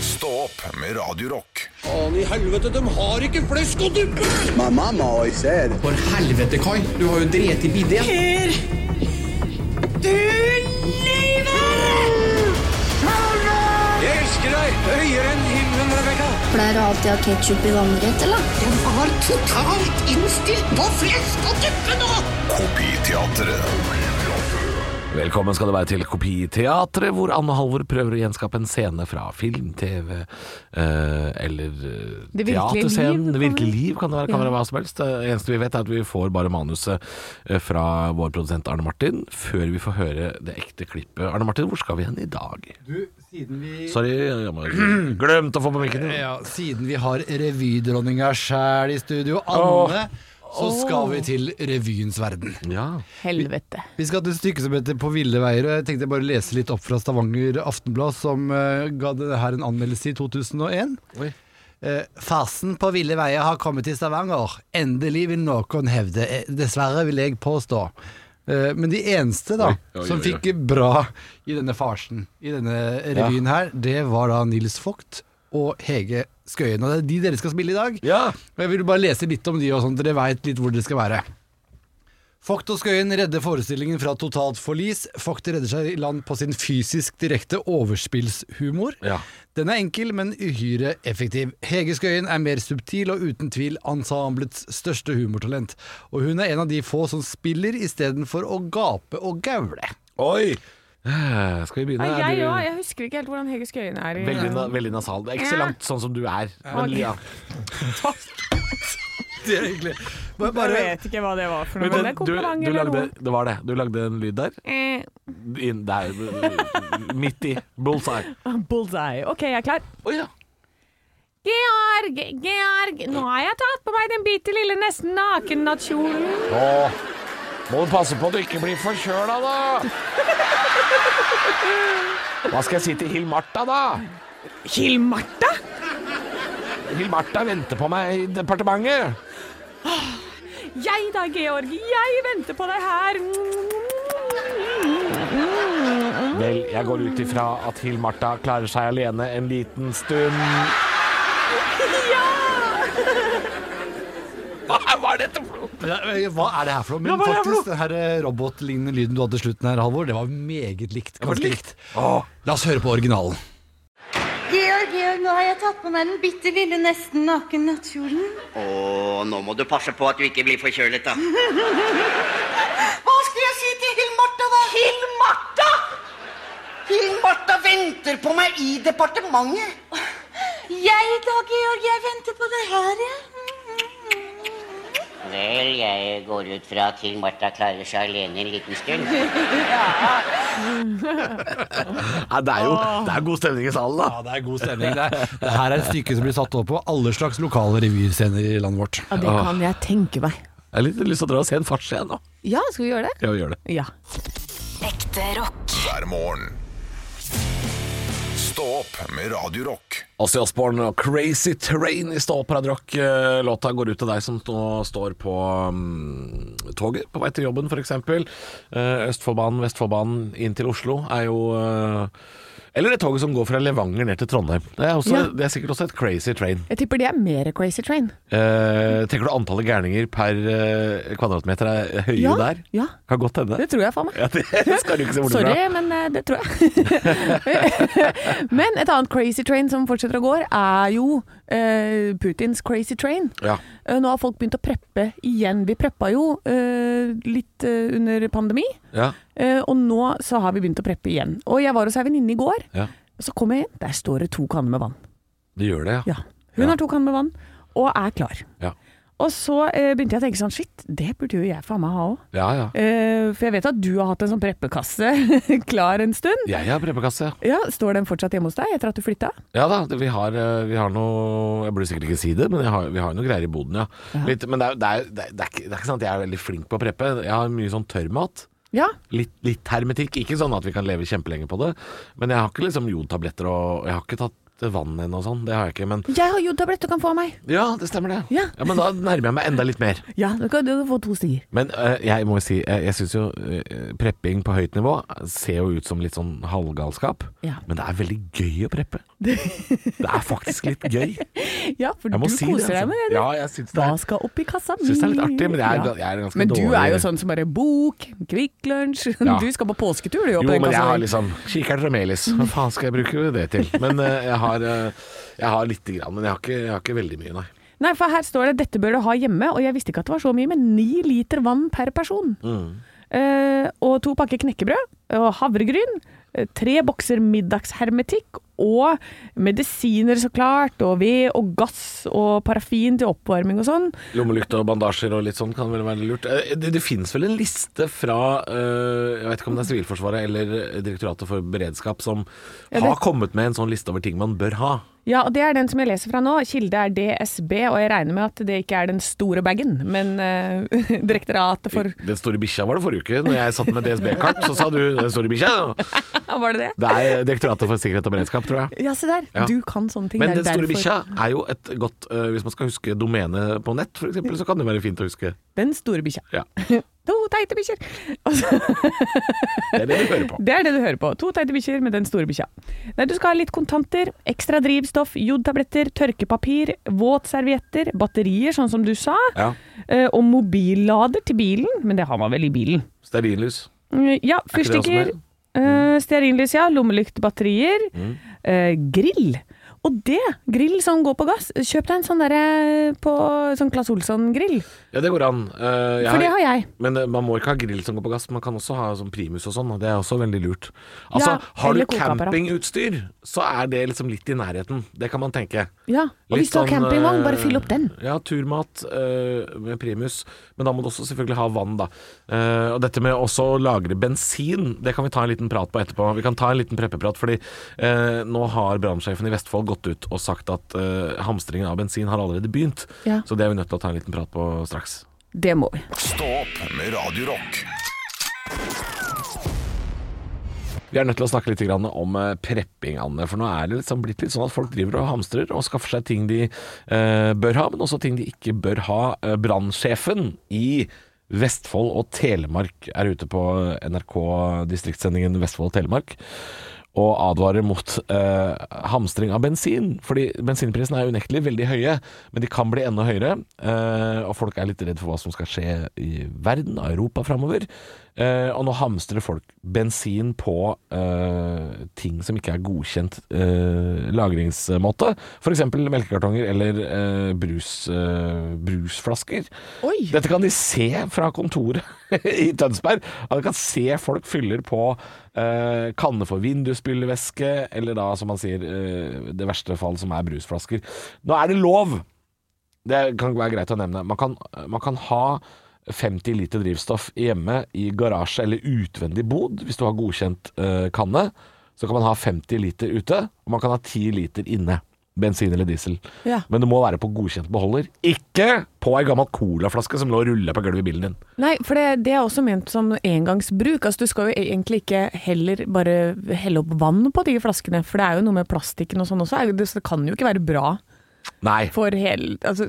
[SPEAKER 2] Stå opp med Radio Rock.
[SPEAKER 7] Faen i helvete, de har ikke flesk og duppe!
[SPEAKER 8] My mama always said,
[SPEAKER 7] For helvete, Kai. Du har jo drept i bidé. Jeg elsker deg høyere enn himmelen, Rebekka.
[SPEAKER 9] Pleier du alltid å ha ketsjup i vannrett, eller?
[SPEAKER 7] Jeg var totalt innstilt på flesk og duppe nå!
[SPEAKER 2] Kopiteatret.
[SPEAKER 3] Velkommen skal du være til Kopiteatret, hvor Anne Halvor prøver å gjenskape en scene fra film, TV eh, eller eh,
[SPEAKER 4] Det virkelige
[SPEAKER 3] teaterscenen.
[SPEAKER 4] liv,
[SPEAKER 3] Det virkelige
[SPEAKER 4] kan det-
[SPEAKER 3] liv kan det være, kan være hva som helst. Det eneste vi vet, er at vi får bare manuset eh, fra vår produsent Arne Martin før vi får høre det ekte klippet. Arne Martin, hvor skal vi hen i dag?
[SPEAKER 10] Du, siden vi
[SPEAKER 3] Sorry, jeg må- glemte å få på mikken.
[SPEAKER 10] Ja, siden vi har revydronninga sjæl i studio, Anne, så skal vi til revyens verden.
[SPEAKER 3] Ja.
[SPEAKER 4] Helvete.
[SPEAKER 10] Vi skal til et stykke som heter På ville veier, og jeg tenkte jeg bare lese litt opp fra Stavanger Aftenblad, som eh, ga det her en anmeldelse i 2001.
[SPEAKER 3] Oi.
[SPEAKER 10] Eh, Farsen på ville veier har kommet til Stavanger. Endelig vil noen hevde. Eh, Dessverre vil jeg påstå. Eh, Men de eneste da,
[SPEAKER 3] Oi, oi, oi,
[SPEAKER 10] som
[SPEAKER 3] oi.
[SPEAKER 10] fikk bra i denne farsen, i denne revyen her, det var da Nils Vogt og Hege Skøyen. Og det er de dere skal spille i dag.
[SPEAKER 3] ja.
[SPEAKER 10] Og Jeg vil bare lese litt om de, og sånn at dere veit litt hvor dere skal være. Vogt og Skøyen redder forestillingen fra totalt forlis. Vogt redder seg i land på sin fysisk direkte overspillshumor.
[SPEAKER 3] Ja.
[SPEAKER 10] Den er enkel, men uhyre effektiv. Hege Skøyen er mer subtil og uten tvil ensemblets største humortalent. Og hun er en av de få som spiller istedenfor å gape og gaule.
[SPEAKER 3] Oi! Eh, Skal vi begynne?
[SPEAKER 4] Nei,
[SPEAKER 3] Er
[SPEAKER 4] jeg
[SPEAKER 3] du-
[SPEAKER 4] òg. Jeg husker ikke helt hvordan Hege Skøyen er. i-
[SPEAKER 3] Veldig, na veldig nasal. Det er ikke så
[SPEAKER 4] Ja.
[SPEAKER 3] langt sånn som du er. Men,
[SPEAKER 4] Ok.
[SPEAKER 3] ja.
[SPEAKER 10] Det er hyggelig. Bare,
[SPEAKER 4] Jeg
[SPEAKER 10] bare,
[SPEAKER 4] vet ikke hva det var for noe.
[SPEAKER 3] Men
[SPEAKER 4] Men det er
[SPEAKER 3] du, du,
[SPEAKER 4] kompliment
[SPEAKER 3] du
[SPEAKER 4] eller
[SPEAKER 3] lagde,
[SPEAKER 4] noe.
[SPEAKER 3] det var det. Du lagde en lyd der.
[SPEAKER 4] Eh,
[SPEAKER 3] Inn der. Midt i. Bullseye.
[SPEAKER 4] Eh, bullseye. OK, jeg er klar.
[SPEAKER 3] Å ja.
[SPEAKER 4] Georg, Georg, nå har jeg tatt på meg den bitte lille nesten nakennattkjolen.
[SPEAKER 3] Må du passe på at du ikke blir forkjøla, da! Hva skal jeg si til Hill-Marta, da?
[SPEAKER 4] Hill-Martha?
[SPEAKER 3] Hill-Marta venter på meg i departementet.
[SPEAKER 4] Jeg da, Georg. Jeg venter på deg her.
[SPEAKER 3] Vel, jeg går ut ifra at Hill-Marta klarer seg alene en liten stund. Ja! Hva er dette for noe?
[SPEAKER 10] Men, eh, Hva er det her for noe? Men
[SPEAKER 3] hva er det her for
[SPEAKER 10] faktisk, den her eh, robotlignende lyden du hadde til slutten her, Halvor, det var meget likt.
[SPEAKER 3] var
[SPEAKER 10] Ganske
[SPEAKER 3] likt.
[SPEAKER 10] likt. La oss høre på originalen.
[SPEAKER 9] Georg, Georg, nå har jeg tatt på meg den bitte lille nesten naken nattkjolen.
[SPEAKER 7] Og nå må du passe på at du ikke blir forkjølet, da.
[SPEAKER 9] Hva skal jeg si til Hill-Martha, da? Hill-Martha?
[SPEAKER 7] Martha venter på meg i departementet.
[SPEAKER 9] Jeg da, Georg, jeg venter på deg her, ja.
[SPEAKER 7] Vel, jeg går ut fra at Til Martha klarer seg alene en liten stund.
[SPEAKER 3] Ja, det er jo det er god stemning i salen, da.
[SPEAKER 10] Ja, det er god stemning. Det, er, det her er et stykke som blir satt opp på alle slags lokale revyscener i landet vårt.
[SPEAKER 4] Ja, det kan jeg tenke meg.
[SPEAKER 3] Jeg har litt lyst til å dra og se en fartscene nå.
[SPEAKER 4] Ja, skal vi gjøre det?
[SPEAKER 3] Ja, vi gjør det.
[SPEAKER 4] Ja.
[SPEAKER 1] Ekte rock.
[SPEAKER 2] hver morgen. Stå opp med Radio Rock.
[SPEAKER 3] Ozzy Osbourne og Crazy Train i Stå opp Paradrock. Eh, Låta går ut til deg som nå står på mm, toget på vei til jobben, f.eks. Østfoldbanen, Vestfoldbanen inn til Oslo er jo eh, Eller det toget som går fra Levanger ned til Trondheim. Det er, også,
[SPEAKER 4] Ja.
[SPEAKER 3] det er sikkert også et crazy train.
[SPEAKER 4] Jeg tipper de er mer Crazy Train.
[SPEAKER 3] Eh, tenker du antallet gærninger per eh, kvadratmeter er høyere
[SPEAKER 4] Ja,
[SPEAKER 3] der?
[SPEAKER 4] ja.
[SPEAKER 3] Kan godt hende.
[SPEAKER 4] Det tror jeg faen meg.
[SPEAKER 3] Ja, det skal du ikke se bort
[SPEAKER 4] Sorry,
[SPEAKER 3] fra.
[SPEAKER 4] men eh, det tror jeg. men et annet crazy train som fortsetter å gå, er jo eh, Putins crazy train.
[SPEAKER 3] Ja.
[SPEAKER 4] Eh, nå har folk begynt å preppe igjen. Vi preppa jo eh, litt eh, under pandemi,
[SPEAKER 3] Ja.
[SPEAKER 4] eh, og nå så har vi begynt å preppe igjen. Og jeg var hos ei venninne i går,
[SPEAKER 3] ja.
[SPEAKER 4] og så kom jeg inn. Der står det to kanner med vann.
[SPEAKER 3] Det gjør det, ja.
[SPEAKER 4] Ja. Hun har to kanner med vann, og er klar.
[SPEAKER 3] Ja,
[SPEAKER 4] Og så eh, begynte jeg å tenke sånn, shit, det burde jo jeg faen meg ha òg.
[SPEAKER 3] ja. ja.
[SPEAKER 4] for jeg vet at du har hatt en sånn preppekasse klar en stund.
[SPEAKER 3] Jeg har preppekasse.
[SPEAKER 4] Ja, Står den fortsatt hjemme hos deg etter at du flytta?
[SPEAKER 3] Ja da, det- vi har, eh, vi har noe Jeg burde sikkert ikke si det, men jeg har, vi har noe greier i boden, ja. Litt, men det er, det, er, det, er, det, er ikke, det er ikke sant at jeg er veldig flink på å preppe. Jeg har mye sånn tørrmat.
[SPEAKER 4] Ja.
[SPEAKER 3] Litt, litt hermetikk. Ikke sånn at vi kan leve kjempelenge på det. Men jeg har ikke liksom jodtabletter og Jeg har ikke tatt vann ennå og sånn. Det har jeg ikke. Men
[SPEAKER 4] Jeg har jodtablett du kan få av meg.
[SPEAKER 3] ja, det stemmer det.
[SPEAKER 4] Ja.
[SPEAKER 3] Men da nærmer jeg meg enda litt mer.
[SPEAKER 4] Ja, du kan, du kan få to stier.
[SPEAKER 3] Men eh, jeg må jo si, eh, jeg syns jo eh, prepping på høyt nivå ser jo ut som litt sånn halvgalskap.
[SPEAKER 4] Ja.
[SPEAKER 3] Men det er veldig gøy å preppe. Det er faktisk litt gøy.
[SPEAKER 4] Ja, for
[SPEAKER 3] Jeg må
[SPEAKER 4] du
[SPEAKER 3] si
[SPEAKER 4] koser
[SPEAKER 3] det, altså.
[SPEAKER 4] deg med det. du.
[SPEAKER 3] Ja, jeg syns det
[SPEAKER 4] Hva
[SPEAKER 3] er-
[SPEAKER 4] skal opp i kassa mi?
[SPEAKER 3] Syns det er litt artig, men jeg er,
[SPEAKER 4] Ja.
[SPEAKER 3] ga- jeg er ganske
[SPEAKER 4] Men du
[SPEAKER 3] dårlig.
[SPEAKER 4] er jo sånn som bare bok, Kvikk Lunsj
[SPEAKER 3] Ja.
[SPEAKER 4] Du skal på påsketur, du.
[SPEAKER 3] Jo,
[SPEAKER 4] opp i den
[SPEAKER 3] men jeg
[SPEAKER 4] kassa
[SPEAKER 3] har
[SPEAKER 4] der.
[SPEAKER 3] liksom Kikerter og melis. Hva faen skal jeg bruke det til? Men eh, jeg har, uh, jeg har lite grann, men jeg har ikke, jeg har ikke veldig mye, nei.
[SPEAKER 4] Nei, for her står det 'dette bør du ha hjemme', og jeg visste ikke at det var så mye, men ni liter vann per person.
[SPEAKER 3] Mm.
[SPEAKER 4] Eh, og to pakker knekkebrød og havregryn. eh, Tre bokser middagshermetikk og medisiner, så klart. Og ved og gass og paraffin til oppvarming og sånn.
[SPEAKER 3] Lommelykt og bandasjer og litt sånn kan vel være lurt. Eh, Det, det fins vel en liste fra eh, Jeg vet ikke om det er Sivilforsvaret eller Direktoratet for beredskap som
[SPEAKER 4] det-
[SPEAKER 3] har kommet med en sånn liste over ting man bør ha.
[SPEAKER 4] Ja, og det er den som jeg leser fra nå. Kilde er DSB, og jeg regner med at det ikke er den store bagen, men eh, Direktoratet for
[SPEAKER 3] Den store bikkja var det forrige uke. Når jeg satt med DSB-kart, så sa du 'den store bikkja'.
[SPEAKER 4] Var det det?
[SPEAKER 3] Det er Direktoratet for sikkerhet og beredskap, tror jeg.
[SPEAKER 4] Ja, se der.
[SPEAKER 3] Ja.
[SPEAKER 4] Du kan sånne ting.
[SPEAKER 3] Men
[SPEAKER 4] det
[SPEAKER 3] Den
[SPEAKER 4] er
[SPEAKER 3] store
[SPEAKER 4] derfor-
[SPEAKER 3] bikkja er jo et godt eh, Hvis man skal huske domene på nett, f.eks., så kan det være fint å huske.
[SPEAKER 4] Den store bikkja.
[SPEAKER 3] Ja.
[SPEAKER 4] To teite bikkjer! Og så-
[SPEAKER 3] Det er det du hører på.
[SPEAKER 4] Det er det du hører på. To teite bikkjer med den store bikkja. Nei, du skal ha litt kontanter, ekstra drivstoff, jodtabletter, tørkepapir, våtservietter, batterier, sånn som du sa,
[SPEAKER 3] Ja.
[SPEAKER 4] eh, og mobillader til bilen, men det har man vel i bilen.
[SPEAKER 3] Stearinlys.
[SPEAKER 4] Mm, Ja,
[SPEAKER 3] ikke det også Mm.
[SPEAKER 4] fyrstikker, eh, stearinlys, ja, lommelyktbatterier, eh, grill. Og det, grill som går på gass, kjøp deg en sånn derre på sånn Claes Olsson-grill,
[SPEAKER 3] Ja, det går an. Eh, jeg
[SPEAKER 4] for det har jeg.
[SPEAKER 3] Men eh, man må ikke ha grill som går på gass. Man kan også ha sånn primus og sånn. og Det er også veldig lurt. Altså,
[SPEAKER 4] Ja,
[SPEAKER 3] har du
[SPEAKER 4] eller kokeapparat.
[SPEAKER 3] campingutstyr, så er det liksom litt i nærheten. Det kan man tenke.
[SPEAKER 4] Ja, og
[SPEAKER 3] Litt
[SPEAKER 4] hvis du har
[SPEAKER 3] sånn,
[SPEAKER 4] campingvogn,
[SPEAKER 3] eh,
[SPEAKER 4] bare fyll opp den.
[SPEAKER 3] Ja, turmat eh, med primus. Men da må du også selvfølgelig ha vann, da. Eh, og dette med også å lagre bensin, det kan vi ta en liten prat på etterpå. Vi kan ta en liten preppeprat, fordi eh, nå har brannsjefen i Vestfold gått ut og sagt at eh, hamstringen av bensin har allerede begynt.
[SPEAKER 4] Ja.
[SPEAKER 3] Så det er vi nødt til å ta en liten prat på straks.
[SPEAKER 4] Det må vi.
[SPEAKER 2] Stå opp med Radio Rock.
[SPEAKER 3] Vi er nødt til å snakke litt grann om eh, prepping, Anne. For nå er det liksom blitt litt sånn at folk driver og hamstrer og skaffer seg ting de eh, bør ha, men også ting de ikke bør ha. Eh, Brannsjefen i Vestfold og Telemark er ute på NRK distriktssendingen Vestfold og Telemark og advarer mot eh, hamstring av bensin. Fordi bensinprisene er unektelig veldig høye, men de kan bli enda høyere. eh, og folk er litt redd for hva som skal skje i verden og Europa framover. Eh, og nå hamstrer folk bensin på eh, ting som ikke er godkjent eh, lagringsmåte. F.eks. melkekartonger eller eh, brus, eh, brusflasker.
[SPEAKER 4] Oi.
[SPEAKER 3] Dette kan de se fra kontoret i Tønsberg. At de kan se folk fyller på eh, kanne for vindusspylevæske, eller da, som man sier, eh, det verste fall, som er brusflasker. Nå er det lov! Det kan være greit å nevne. Man kan, man kan ha 50 liter drivstoff hjemme i garasje eller utvendig bod, hvis du har godkjent eh, kanne. Så kan man ha 50 liter ute, og man kan ha 10 liter inne. Bensin eller diesel.
[SPEAKER 4] Ja.
[SPEAKER 3] Men det må være på godkjent beholder. Ikke på ei gammel colaflaske som lå og rulla på gulvet i bilen din.
[SPEAKER 4] Nei, for det, det er også ment som engangsbruk. Altså, du skal jo egentlig ikke heller bare helle opp vann på de flaskene, for det er jo noe med plastikken og sånn også. Det, så det kan jo ikke være bra.
[SPEAKER 3] Nei.
[SPEAKER 4] for hele altså,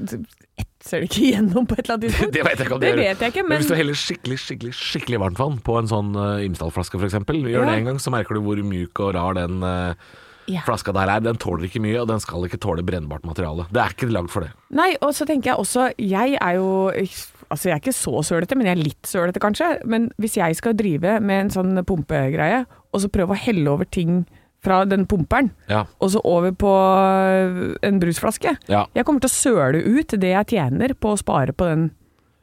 [SPEAKER 4] Etser det ikke igjennom på et eller annet tidspunkt?
[SPEAKER 3] Det vet jeg ikke om
[SPEAKER 4] det
[SPEAKER 3] gjør.
[SPEAKER 4] vet jeg ikke,
[SPEAKER 3] men...
[SPEAKER 4] men
[SPEAKER 3] Hvis du heller skikkelig skikkelig, skikkelig varmt vann på en sånn uh, Imsdal-flaske f.eks., gjør
[SPEAKER 4] Ja.
[SPEAKER 3] det en gang, så merker du hvor mjuk og rar den eh,
[SPEAKER 4] Ja.
[SPEAKER 3] flaska der er. Den tåler ikke mye, og den skal ikke tåle brennbart materiale. Det er ikke lagd for det.
[SPEAKER 4] Nei, og så tenker jeg også Jeg er jo Altså, jeg er ikke så sølete, men jeg er litt sølete, kanskje. Men hvis jeg skal drive med en sånn pumpegreie, og så prøve å helle over ting fra den pumperen,
[SPEAKER 3] Ja.
[SPEAKER 4] og så over på eh, en brusflaske
[SPEAKER 3] Ja.
[SPEAKER 4] Jeg kommer til å søle ut det jeg tjener på å spare på den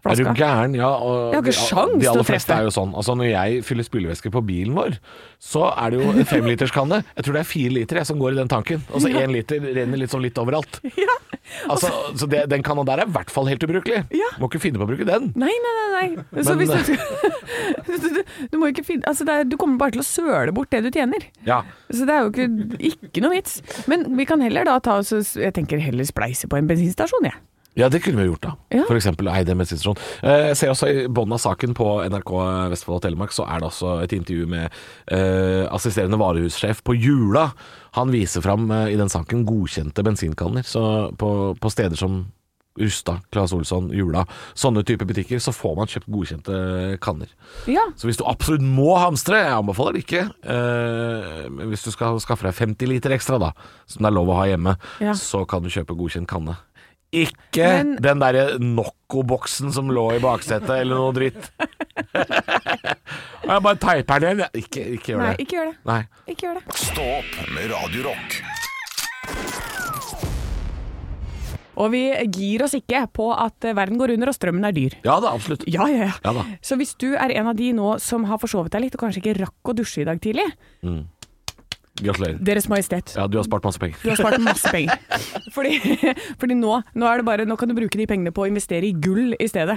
[SPEAKER 3] Er
[SPEAKER 4] flaska.
[SPEAKER 3] du gæren? Ja, og
[SPEAKER 4] Jeg har ikke
[SPEAKER 3] de-
[SPEAKER 4] sjans
[SPEAKER 3] De
[SPEAKER 4] til
[SPEAKER 3] aller
[SPEAKER 4] å
[SPEAKER 3] fleste
[SPEAKER 4] treffe.
[SPEAKER 3] er jo sånn. Altså, når jeg fyller spylevæske på bilen vår, så er det jo en femliterskanne. Jeg tror det er fire liter jeg, som går i den tanken. Og så én liter renner litt sånn litt overalt. Altså, så det, den kanna der er i hvert fall helt ubrukelig.
[SPEAKER 4] Ja.
[SPEAKER 3] Må ikke finne på å bruke den.
[SPEAKER 4] Nei, nei, nei. nei. Så
[SPEAKER 3] Men- eh,
[SPEAKER 4] hvis du, skal, du, du, du må jo ikke finne altså det er, Du kommer bare til å søle bort det du tjener.
[SPEAKER 3] Ja.
[SPEAKER 4] Så det er jo ikke, ikke noe vits. Men vi kan heller da ta oss Jeg tenker heller spleise på en bensinstasjon, jeg.
[SPEAKER 3] Ja, det kunne vi gjort da.
[SPEAKER 4] Ja.
[SPEAKER 3] For eksempel Eidem Institusjon. Eh, jeg ser også i bånden av saken på NRK Vestfold og Telemark, så er det også et intervju med eh, assisterende varehussjef på Jula. Han viser fram eh, i den saken godkjente bensinkanner. Så på, på steder som Rusta, Claes Olsson, Jula, sånne type butikker, så får man kjøpt godkjente kanner.
[SPEAKER 4] Ja.
[SPEAKER 3] Så hvis du absolutt må hamstre, jeg anbefaler det ikke eh, men Hvis du skal skaffe deg 50 liter ekstra da Som det er lov å ha hjemme
[SPEAKER 4] Ja.
[SPEAKER 3] Så kan du kjøpe godkjent kanne Ikke
[SPEAKER 4] Men-
[SPEAKER 3] den der Nocco-boksen som lå i baksetet Eller noe dritt Jeg bare teiper den igjen Ikke, ikke gjør
[SPEAKER 4] Nei,
[SPEAKER 3] det
[SPEAKER 4] ikke gjør det.
[SPEAKER 3] Nei.
[SPEAKER 4] Ikke gjør det.
[SPEAKER 2] Stå opp med Radio Rock.
[SPEAKER 4] Og vi gir oss ikke på at eh, verden går under og strømmen er dyr.
[SPEAKER 3] Ja da, absolutt
[SPEAKER 4] Ja, ja, ja.
[SPEAKER 3] Ja da.
[SPEAKER 4] Så hvis du er en av de nå som har forsovet deg litt og kanskje ikke rakk å dusje i dag tidlig,
[SPEAKER 3] Gratulerer
[SPEAKER 4] Deres Majestet.
[SPEAKER 3] Ja, du har spart masse penger
[SPEAKER 4] Du har spart masse penger. Fordi, fordi nå, nå, er det bare, nå kan du bruke de pengene på å investere i gull i stedet.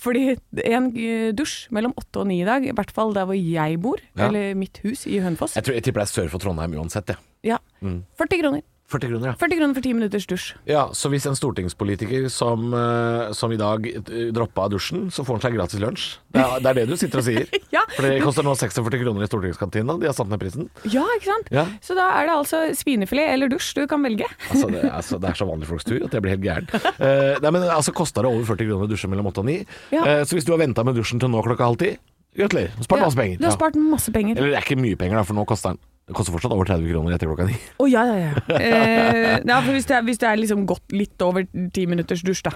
[SPEAKER 4] Fordi en eh, dusj mellom åtte og ni i dag, i hvert fall der hvor jeg bor,
[SPEAKER 3] Ja.
[SPEAKER 4] eller mitt hus i Hønefoss
[SPEAKER 3] Jeg tror jeg tipper det er sør for Trondheim uansett ja.
[SPEAKER 4] ja.
[SPEAKER 3] Mm.
[SPEAKER 4] 40 kroner.
[SPEAKER 3] 40 kroner ja
[SPEAKER 4] 40 kroner for ti minutters dusj.
[SPEAKER 3] Ja, så hvis en stortingspolitiker som, eh, som i dag eh, droppa dusjen, så får han seg gratis lunsj. Det er det, er det du sitter og sier.
[SPEAKER 4] Ja.
[SPEAKER 3] For det koster nå 46 kroner i stortingskantina, de har satt ned prisen.
[SPEAKER 4] Ja, ikke sant?
[SPEAKER 3] Ja.
[SPEAKER 4] Så da er det altså svinefilet eller dusj du kan velge.
[SPEAKER 3] Altså, det, er så- det er så vanlig folks tur at jeg blir helt gæren. Eh, nei, men altså kosta det over 40 kroner å dusje mellom 8 og 9.
[SPEAKER 4] Ja.
[SPEAKER 3] Eh, så hvis du har venta med dusjen til nå klokka halv ti, gratulerer. Spart masse penger.
[SPEAKER 4] Du har spart masse
[SPEAKER 3] ja.
[SPEAKER 4] penger.
[SPEAKER 3] Eller det er ikke mye penger, da, for nå koster den det koster fortsatt over 30 kroner etter klokka ni.
[SPEAKER 4] Å ja, ja, ja. Eh, ja for hvis det er, hvis det er liksom gått litt over ti minutters dusj, da.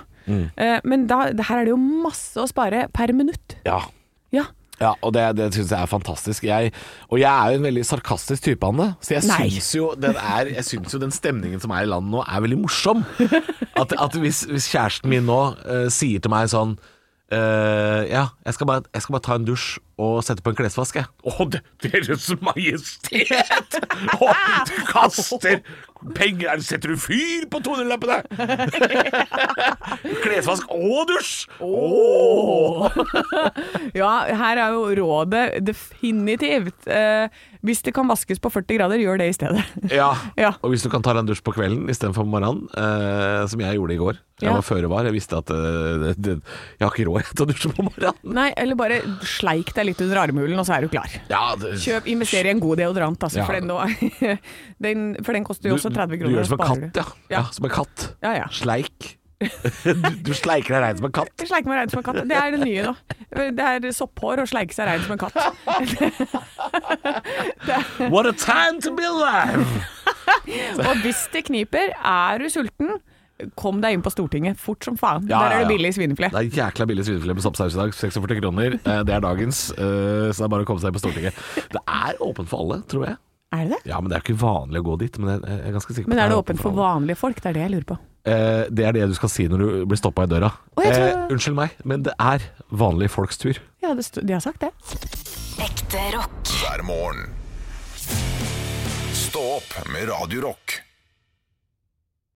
[SPEAKER 4] Eh, men da, det her er det jo masse å spare per minutt.
[SPEAKER 3] Ja.
[SPEAKER 4] Ja.
[SPEAKER 3] Ja, og det, det syns jeg er fantastisk. Jeg, og jeg er jo en veldig sarkastisk type, Anne. Så jeg
[SPEAKER 4] Nei.
[SPEAKER 3] syns jo, den er- jeg syns jo den stemningen som er i landet nå, er veldig morsom. At, at hvis, hvis kjæresten min nå eh, sier til meg sånn eh, Ja, jeg skal, bare, jeg skal bare ta en dusj og sette på en klesvask, jeg. Å, det, Deres Majestet! Å, du kaster penger er det- Setter du fyr på 200-lappene? Klesvask og dusj! Åh
[SPEAKER 4] Ja, her er jo rådet definitivt. Eh, hvis det kan vaskes på 40 grader, gjør det i stedet.
[SPEAKER 3] Ja.
[SPEAKER 4] Ja.
[SPEAKER 3] og hvis du kan ta deg en dusj på kvelden istedenfor på morgenen, eh, som jeg gjorde i går Jeg
[SPEAKER 4] Ja.
[SPEAKER 3] var føre var, jeg visste at eh, det, det, jeg har ikke råd til å dusje på morgenen.
[SPEAKER 4] Nei, eller bare sleik deg litt under armhulen, og så er du klar.
[SPEAKER 3] Ja, det-
[SPEAKER 4] Kjøp, Invester i en god deodorant, altså,
[SPEAKER 3] Ja.
[SPEAKER 4] for, den nå, den, for den koster jo også 30
[SPEAKER 3] Du
[SPEAKER 4] kroner.
[SPEAKER 3] gjør det som en
[SPEAKER 4] sparer
[SPEAKER 3] katt,
[SPEAKER 4] du.
[SPEAKER 3] ja. ja. Som en katt.
[SPEAKER 4] Ja, ja.
[SPEAKER 3] Sleik. du, du sleiker deg rein som en katt.
[SPEAKER 4] Sleike meg rein som en katt. Det er det nye nå. Det er sopphår og sleike seg rein som en katt.
[SPEAKER 3] What a time to be alive!
[SPEAKER 4] Og hvis det kniper, er du sulten, kom deg inn på Stortinget fort som faen.
[SPEAKER 3] Ja, ja,
[SPEAKER 4] Der er det
[SPEAKER 3] ja.
[SPEAKER 4] billig svinefilet.
[SPEAKER 3] Det er jækla billig svinefilet med soppsaus i dag. 46 kroner. Eh, Det er dagens, eh, så det er bare å komme seg på Stortinget. Det er åpent for alle, tror jeg.
[SPEAKER 4] Er det det?
[SPEAKER 3] Ja, men Det er jo ikke vanlig å gå dit. Men jeg er ganske sikker på at
[SPEAKER 4] Men er det åpent for vanlige folk? Det er det jeg lurer på.
[SPEAKER 3] Eh, det er det du skal si når du blir stoppa i døra.
[SPEAKER 4] Å, jeg tror-
[SPEAKER 3] Eh, unnskyld meg, men det er vanlige folks tur.
[SPEAKER 4] Ja, det sto- de har sagt det.
[SPEAKER 1] Ekte rock.
[SPEAKER 2] Hver morgen. Stå opp med Radio Rock.